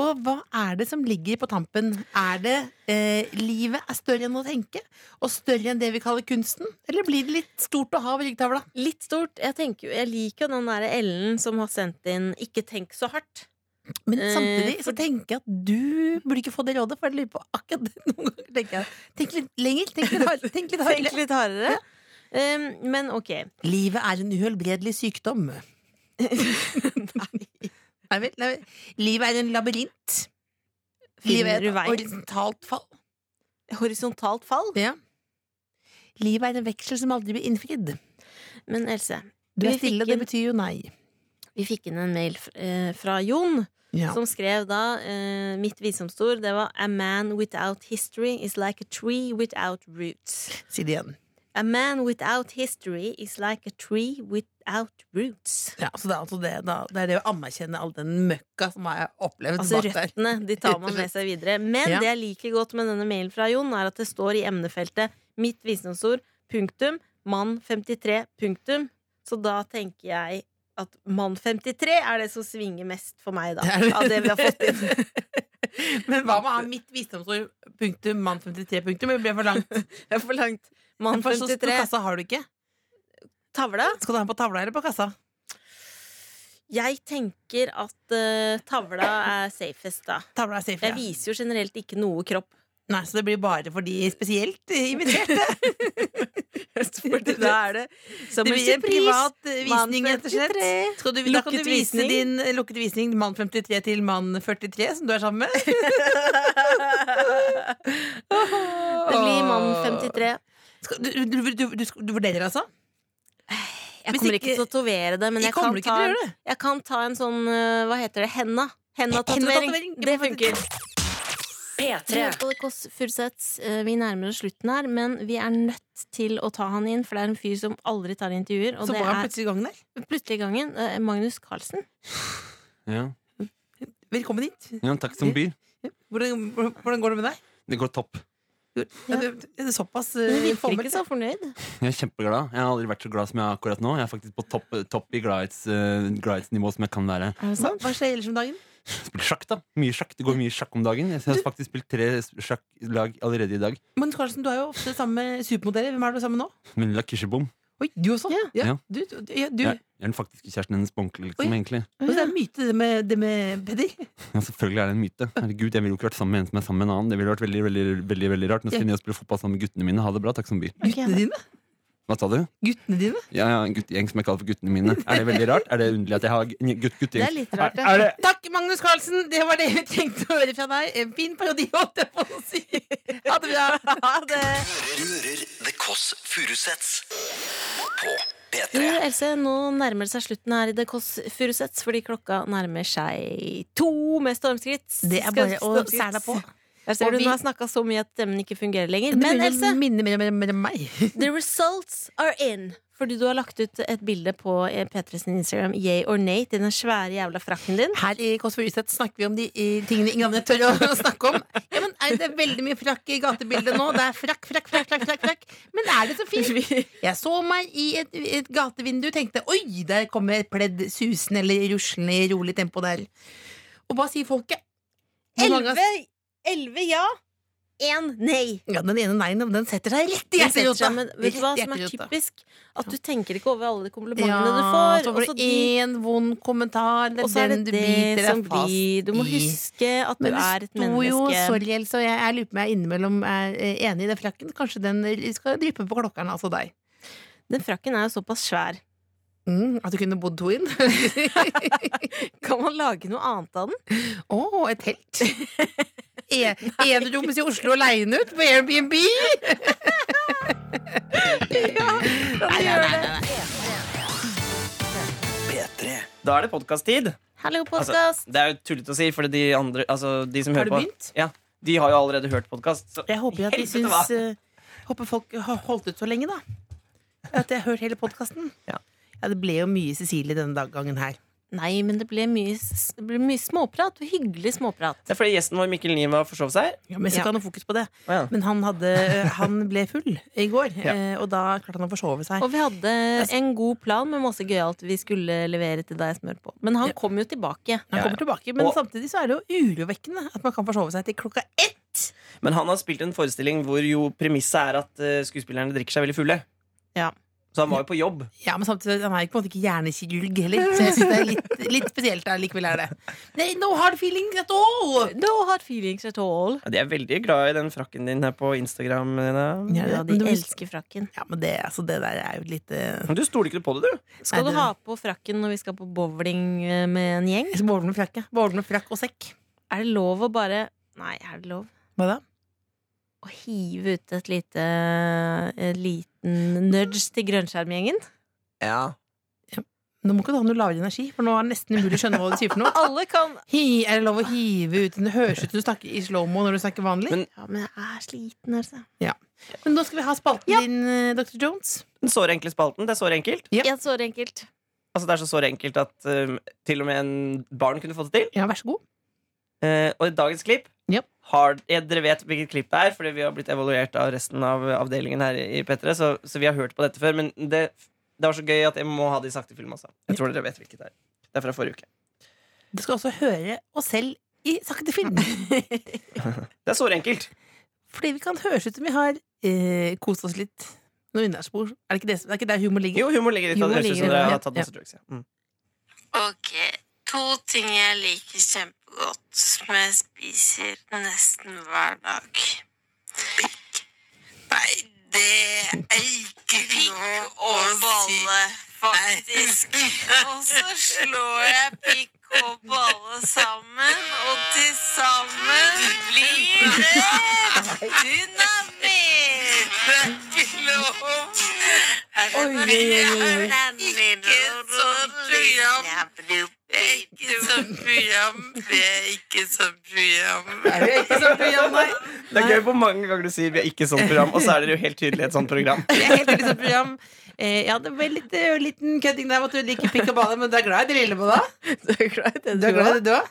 Speaker 4: Og hva er det som ligger på tampen? Er det eh, 'livet er større enn å tenke'? Og større enn det vi kaller kunsten? Eller blir det litt stort å ha over ryggtavla?
Speaker 3: Litt stort. Jeg, tenker, jo- jeg liker jo den derre Ellen som har sendt inn 'Ikke tenk så hardt'.
Speaker 4: Men
Speaker 3: Eh,
Speaker 4: samtidig
Speaker 3: for-
Speaker 4: så tenker jeg at du burde ikke få det rådet, for jeg lurer på akkurat det noen ganger. tenker jeg. Tenk litt lenger, tenk litt hardere. Tenk litt
Speaker 3: Tenk
Speaker 4: hardere.
Speaker 3: litt hardere. Um, men ok.
Speaker 4: Livet er en uhelbredelig sykdom. nei. Nei vel. Nei. vel. Livet er en labyrint.
Speaker 3: Finner
Speaker 4: Livet er
Speaker 3: du
Speaker 4: et
Speaker 3: vei?
Speaker 4: horisontalt fall.
Speaker 3: Horisontalt fall.
Speaker 4: Livet er en veksel som aldri blir innfridd.
Speaker 3: Men Else,
Speaker 4: Du er
Speaker 3: Vi fikk
Speaker 4: stille, det
Speaker 3: en-
Speaker 4: betyr jo nei.
Speaker 3: vi fikk inn en mail fr- eh, fra Jon.
Speaker 4: Ja.
Speaker 3: som skrev da eh, mitt visdomsord. Det var A man without history is like a tree without roots.
Speaker 4: Si det igjen.
Speaker 3: A man without history is like a tree without roots.
Speaker 4: Ja, så det er, altså det, da, det er det å anerkjenne all den møkka som jeg har opplevd
Speaker 3: Altså
Speaker 4: bak der.
Speaker 3: røttene de tar man med seg videre. Men
Speaker 4: Ja.
Speaker 3: det jeg liker godt med denne mailen fra Jon, er at det står i emnefeltet 'mitt visdomsord', punktum, mann 53, punktum. Så da tenker jeg at mann 53 er det som svinger mest for meg, da. Av det vi har fått inn.
Speaker 4: Men hva med å ha mitt visdomsord, punktum, mann 53, punktum? Det ble for langt.
Speaker 3: Det er for langt. Mann
Speaker 4: For så stor
Speaker 3: 53.
Speaker 4: kassa har du ikke.
Speaker 3: Tavla?
Speaker 4: Skal du ha den på tavla eller på kassa?
Speaker 3: Jeg tenker at eh, tavla er safest, da.
Speaker 4: Tavla er safe.
Speaker 3: Jeg
Speaker 4: ja.
Speaker 3: viser jo generelt ikke noe kropp.
Speaker 4: Nei, så det blir bare for de spesielt eh, inviterte.
Speaker 3: Fordi da er det som
Speaker 4: Det
Speaker 3: en
Speaker 4: blir en
Speaker 3: surprise.
Speaker 4: privat eh, visning,
Speaker 3: Mann
Speaker 4: rett og slett.
Speaker 3: 53.
Speaker 4: Skal du, da kan du
Speaker 3: Lukket
Speaker 4: vise
Speaker 3: visning.
Speaker 4: din eh, lukket visning mann 53 til mann 43, som du er sammen med.
Speaker 3: Det blir mann 53.
Speaker 4: Skal, du, du, du, du, du, du vurderer altså?
Speaker 3: Jeg
Speaker 4: Hvis
Speaker 3: kommer ikke
Speaker 4: ikke-
Speaker 3: til å tatovere det, men
Speaker 4: Jeg
Speaker 3: jeg kan,
Speaker 4: kommer ikke
Speaker 3: ta,
Speaker 4: til å
Speaker 3: en-
Speaker 4: gjøre det.
Speaker 3: jeg kan ta en sånn eh, Hva heter det? Henda. Henda-tatovering.
Speaker 4: Henda-tatovering.
Speaker 3: Det funker. Hør på det, Kåss Furuseths. Eh, Vi nærmer oss slutten her, men vi er nødt til å ta han inn, for det er en fyr som aldri tar intervjuer. Og
Speaker 4: Så
Speaker 3: det
Speaker 4: var han
Speaker 3: er
Speaker 4: plutselig i gang der.
Speaker 3: plutselig i gangen eh, Magnus Carlsen.
Speaker 7: Ja.
Speaker 4: Velkommen hit.
Speaker 7: ja, takk som byr.
Speaker 4: Hvordan, hvordan går det med deg?
Speaker 7: Det går topp.
Speaker 4: Jo, ja, du- er det såpass
Speaker 3: Du
Speaker 4: eh,
Speaker 3: virker
Speaker 4: formelt?
Speaker 3: ikke så fornøyd.
Speaker 7: Jeg er kjempeglad. Jeg har aldri vært så glad som jeg er akkurat nå. Jeg er faktisk på topp, topp i gladhets- eh, gladhetsnivå som jeg kan være.
Speaker 3: Er det
Speaker 4: Hva,
Speaker 3: sant?
Speaker 4: hva skjer ellers om dagen?
Speaker 7: Spiller sjakk, da. Mye sjakk. Det går mye sjakk om dagen. Jeg har faktisk spilt tre sjakklag allerede i dag.
Speaker 4: Magnus Carlsen, du er jo ofte sammen med supermodeller. Hvem er du sammen med nå?
Speaker 7: Melilla Kirsebom.
Speaker 4: Oi, du også?
Speaker 3: Ja.
Speaker 7: Ja.
Speaker 4: Du, du, ja, du.
Speaker 7: Jeg jeg er den faktiske kjæresten hennes på ordentlig, liksom,
Speaker 4: Oi.
Speaker 7: egentlig.
Speaker 4: Og så er det en myte, det med, det med Peder.
Speaker 7: Ja, selvfølgelig er det en myte. Herregud, jeg ville jo ikke vært sammen med en som er sammen med en annen. Det ville vært veldig, veldig, veldig, veldig rart. Nå skal jeg ned og spille fotball sammen med guttene mine. Ha det bra, takk som by.
Speaker 3: Ok,
Speaker 4: Guttene dine?
Speaker 7: Hva sa du?
Speaker 4: Guttene dine?
Speaker 7: Ja, ja, en guttegjeng som jeg kaller for guttene mine. Er det veldig rart? Er det underlig at jeg har g- gutt,
Speaker 3: Det er
Speaker 7: guttegjeng?
Speaker 3: litt rart,
Speaker 7: Er, er det
Speaker 4: Takk, Magnus Carlsen! Det var det vi trengte å høre fra deg. En fin parodi, holdt jeg på å si. Ha det bra. Ha det.
Speaker 2: Hører, hører The Kåss Furuseths på
Speaker 3: Du,
Speaker 2: P3.
Speaker 3: Else, nå nærmer det seg slutten her i The Kåss Furuseths, fordi klokka nærmer seg to med stormskritt.
Speaker 4: Det er
Speaker 3: Skal-
Speaker 4: bare å
Speaker 3: stormskritt.
Speaker 4: sære deg på.
Speaker 3: Der ser
Speaker 4: Og
Speaker 3: du,
Speaker 4: vi-
Speaker 3: nå har jeg snakka så mye at stemmen ikke fungerer lenger.
Speaker 4: Det
Speaker 3: Men
Speaker 4: begynner å
Speaker 3: Else,
Speaker 4: minne mer og mer- mer om meg.
Speaker 3: the results are in. Fordi du har lagt ut et bilde på eh, P3 sin Instagram, yay or nay, til den svære jævla frakken din.
Speaker 4: Her i Kåss Furuseth snakker vi om de eh, tingene ingen andre tør å snakke om. Ja, men er Det er veldig mye frakk i gatebildet nå. Det er frakk, frakk, frakk. frakk, frakk, frakk. Men er det så fint? Jeg så meg i et, et gatevindu og tenkte oi, der kommer et pledd susende eller ruslende i rolig tempo der. Og hva sier folket? Hvor mange av-
Speaker 3: Elleve elleve ja, én nei.
Speaker 4: Ja, Den ene neien den setter seg rett i
Speaker 3: Den setter
Speaker 4: hjerterota.
Speaker 3: seg, men vet du hva
Speaker 4: Rett i
Speaker 3: som er
Speaker 4: hjerterota.
Speaker 3: typisk? At du tenker ikke over alle de
Speaker 4: Ja,
Speaker 3: komplimentene du får.
Speaker 4: så
Speaker 3: og
Speaker 4: får
Speaker 3: så
Speaker 4: du
Speaker 3: de
Speaker 4: én vond kommentar. Det
Speaker 3: Og så
Speaker 4: er
Speaker 3: er
Speaker 4: den
Speaker 3: det
Speaker 4: du biter
Speaker 3: det
Speaker 4: deg
Speaker 3: som
Speaker 4: fast
Speaker 3: blir Du må
Speaker 4: i.
Speaker 3: huske at du
Speaker 4: Men det
Speaker 3: er et
Speaker 4: sto jo
Speaker 3: menneske.
Speaker 4: sorry, Else, og jeg, jeg lurer på om jeg innimellom er eh, enig i den frakken. Kanskje den skal dryppe på klokkeren, altså deg.
Speaker 3: Den frakken er jo såpass svær.
Speaker 4: Mm, at du kunne bodd to inn. Å,
Speaker 3: Kan man lage noe annet av den?
Speaker 4: et telt! E- Eneroms i Oslo aleine ut på Airbnb! nei, nei, nei, nei.
Speaker 2: P3.
Speaker 1: Da er det podkast-tid.
Speaker 4: Altså-
Speaker 3: Hallo, podkast!
Speaker 1: Det er jo tullete å si, for de andre altså, de som
Speaker 4: Har
Speaker 1: hører
Speaker 4: du
Speaker 1: på
Speaker 4: begynt?
Speaker 1: Ja, De har jo allerede hørt podkast. Så
Speaker 4: Jeg håper jo at de
Speaker 1: Helvete,
Speaker 4: syns
Speaker 1: hva?
Speaker 4: eh, Håper folk har holdt ut så lenge, da. At jeg har hørt hele podkasten.
Speaker 1: Ja.
Speaker 4: ja, det ble jo mye Cecilie denne dag- gangen her.
Speaker 3: Nei, men det ble mye, s- det ble mye småprat. og Hyggelig småprat.
Speaker 1: Det er fordi gjesten vår Mikkel Niva forsov seg.
Speaker 4: Ja, men så kan han ha fokus på det.
Speaker 1: Å, ja.
Speaker 4: Men han, hadde, eh, han ble full i går,
Speaker 1: Ja.
Speaker 4: eh, og da klarte han å forsove seg.
Speaker 3: Og vi hadde en god plan med masse gøyalt vi skulle levere til deg, Smør på. Men han kom jo tilbake.
Speaker 4: Han kommer tilbake, Men
Speaker 1: Og-
Speaker 4: samtidig så er det jo urovekkende at man kan forsove seg til klokka ett.
Speaker 1: Men han har spilt en forestilling hvor jo premisset er at eh, skuespillerne drikker seg veldig fulle.
Speaker 3: Ja.
Speaker 1: Så han var jo på jobb.
Speaker 4: Ja, Men samtidig han er jo på en måte ikke hjernekirurg heller, så jeg synes det er litt, litt spesielt. Da, likevel er det Nei, No hard feelings at all!
Speaker 3: No hard feelings at all.
Speaker 1: Ja, de er veldig glad i den frakken din her på Instagram. Nina.
Speaker 4: Ja,
Speaker 3: Ja, de
Speaker 4: men du-
Speaker 3: elsker frakken.
Speaker 4: Ja, men det, altså, det der er jo litt eh,
Speaker 1: Men Du stoler ikke på det, du.
Speaker 3: Skal
Speaker 4: Nei,
Speaker 3: du
Speaker 4: det-
Speaker 3: ha på frakken når vi skal på bowling eh, med en gjeng?
Speaker 4: Bålen med frakk, ja. Bålen med frakk og sekk.
Speaker 3: Er det lov å bare Nei, er det lov?
Speaker 4: Hva da?
Speaker 3: Å hive ut et lite En liten nudge til grønnskjermgjengen?
Speaker 1: Ja.
Speaker 4: Nå må ikke du ha noe lavere energi, for nå er det nesten umulig å skjønne hva du sier for noe.
Speaker 3: Alle kan
Speaker 4: Hi, er det lov å hive ut? Det høres ut som du snakker i slow-mo når du snakker vanlig.
Speaker 1: Men-
Speaker 3: Ja, men jeg er sliten, altså.
Speaker 4: Men nå skal vi ha spalten din, eh, Dr. Jones.
Speaker 1: Den såre enkle spalten. Det er såre enkelt.
Speaker 4: Ja.
Speaker 3: Ja, såre enkelt.
Speaker 1: Altså, det er så såre enkelt at eh, til og med en barn kunne fått det til.
Speaker 4: Ja, vær så god.
Speaker 1: Eh, og i dagens klipp
Speaker 4: Ja.
Speaker 1: har, eh, Dere vet hvilket klipp det er, fordi vi har blitt evaluert av resten av avdelingen her i P3, så, så vi har hørt på dette før. Men det, det var så gøy at jeg må ha det i sakte film også. Jeg tror dere vet hvilket det er. Det er fra forrige uke.
Speaker 4: Du skal også høre oss selv i sakte film.
Speaker 1: Det er såre enkelt.
Speaker 4: Fordi vi kan høres ut som vi har eh, kost oss litt noe innabords. Er, det ikke det som- er ikke der humor ligger?
Speaker 1: Jo, humor ligger litt av
Speaker 3: Humor
Speaker 1: det høres ut
Speaker 3: ligger
Speaker 1: som
Speaker 3: i
Speaker 1: dere
Speaker 3: det,
Speaker 1: har tatt
Speaker 4: ja.
Speaker 1: masse drugs. Ja. Mm.
Speaker 8: Ok, to ting jeg liker kjempegodt, som jeg spiser nesten hver dag. Nei, det er ikke pikk og balle, faktisk. Og så slår jeg pikk og balle sammen, og til sammen blir det dynamitt! Det er ikke lov! Ikke sånn program. Det er ikke sånn program. Det er ikke sånn program.
Speaker 4: Er det ikke sånn program, nei?
Speaker 1: Det er gøy hvor mange ganger du sier 'vi er ikke sånn program', og så er dere jo helt tydelig et sånt program.
Speaker 4: Det er helt ikke sånn program. Eh, ja, det var litt eh, liten kødding der om at du liker pikk og balle, men du er glad i det lille på da? Du er glad i det, du òg?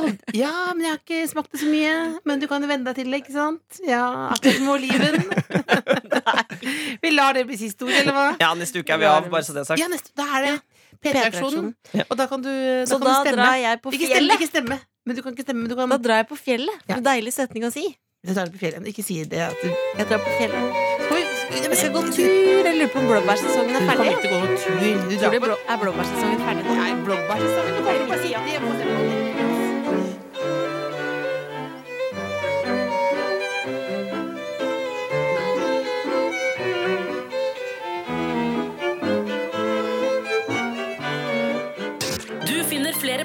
Speaker 4: Ald- Ja, men jeg har ikke smakt det så mye. Men du kan jo venne deg til det, ikke sant? Ja, akkurat som oliven. Nei. Vi lar det bli siste ord, eller hva?
Speaker 1: Ja, neste uke er vi av, bare så det er sagt.
Speaker 4: Ja, neste, da er det P3-aksjonen.
Speaker 1: Ja.
Speaker 4: Og da kan du, da
Speaker 3: Så
Speaker 4: kan du
Speaker 3: da
Speaker 4: stemme.
Speaker 3: drar jeg på
Speaker 4: Ikke stemme,
Speaker 3: fjellet.
Speaker 4: ikke stemme. Men du kan ikke stemme, men du kan
Speaker 3: Da drar jeg på fjellet.
Speaker 4: Ja.
Speaker 3: En Deilig setning å si.
Speaker 4: Du tar det på fjellet. Ikke si det. At du,
Speaker 3: Jeg drar på fjellet.
Speaker 4: skal vi, skal vi,
Speaker 3: Jeg skal gå tur. Jeg lurer på om blåbærsesongen er
Speaker 4: Du
Speaker 3: ferdig.
Speaker 4: kommer ikke til å gå noen tur. Du
Speaker 3: Tror
Speaker 4: drar
Speaker 3: du blå, er blåbærsesongen ferdig nå?
Speaker 4: Nei, blåbær. så kan du bare- bare si at de er på stemme.
Speaker 9: Du finner flere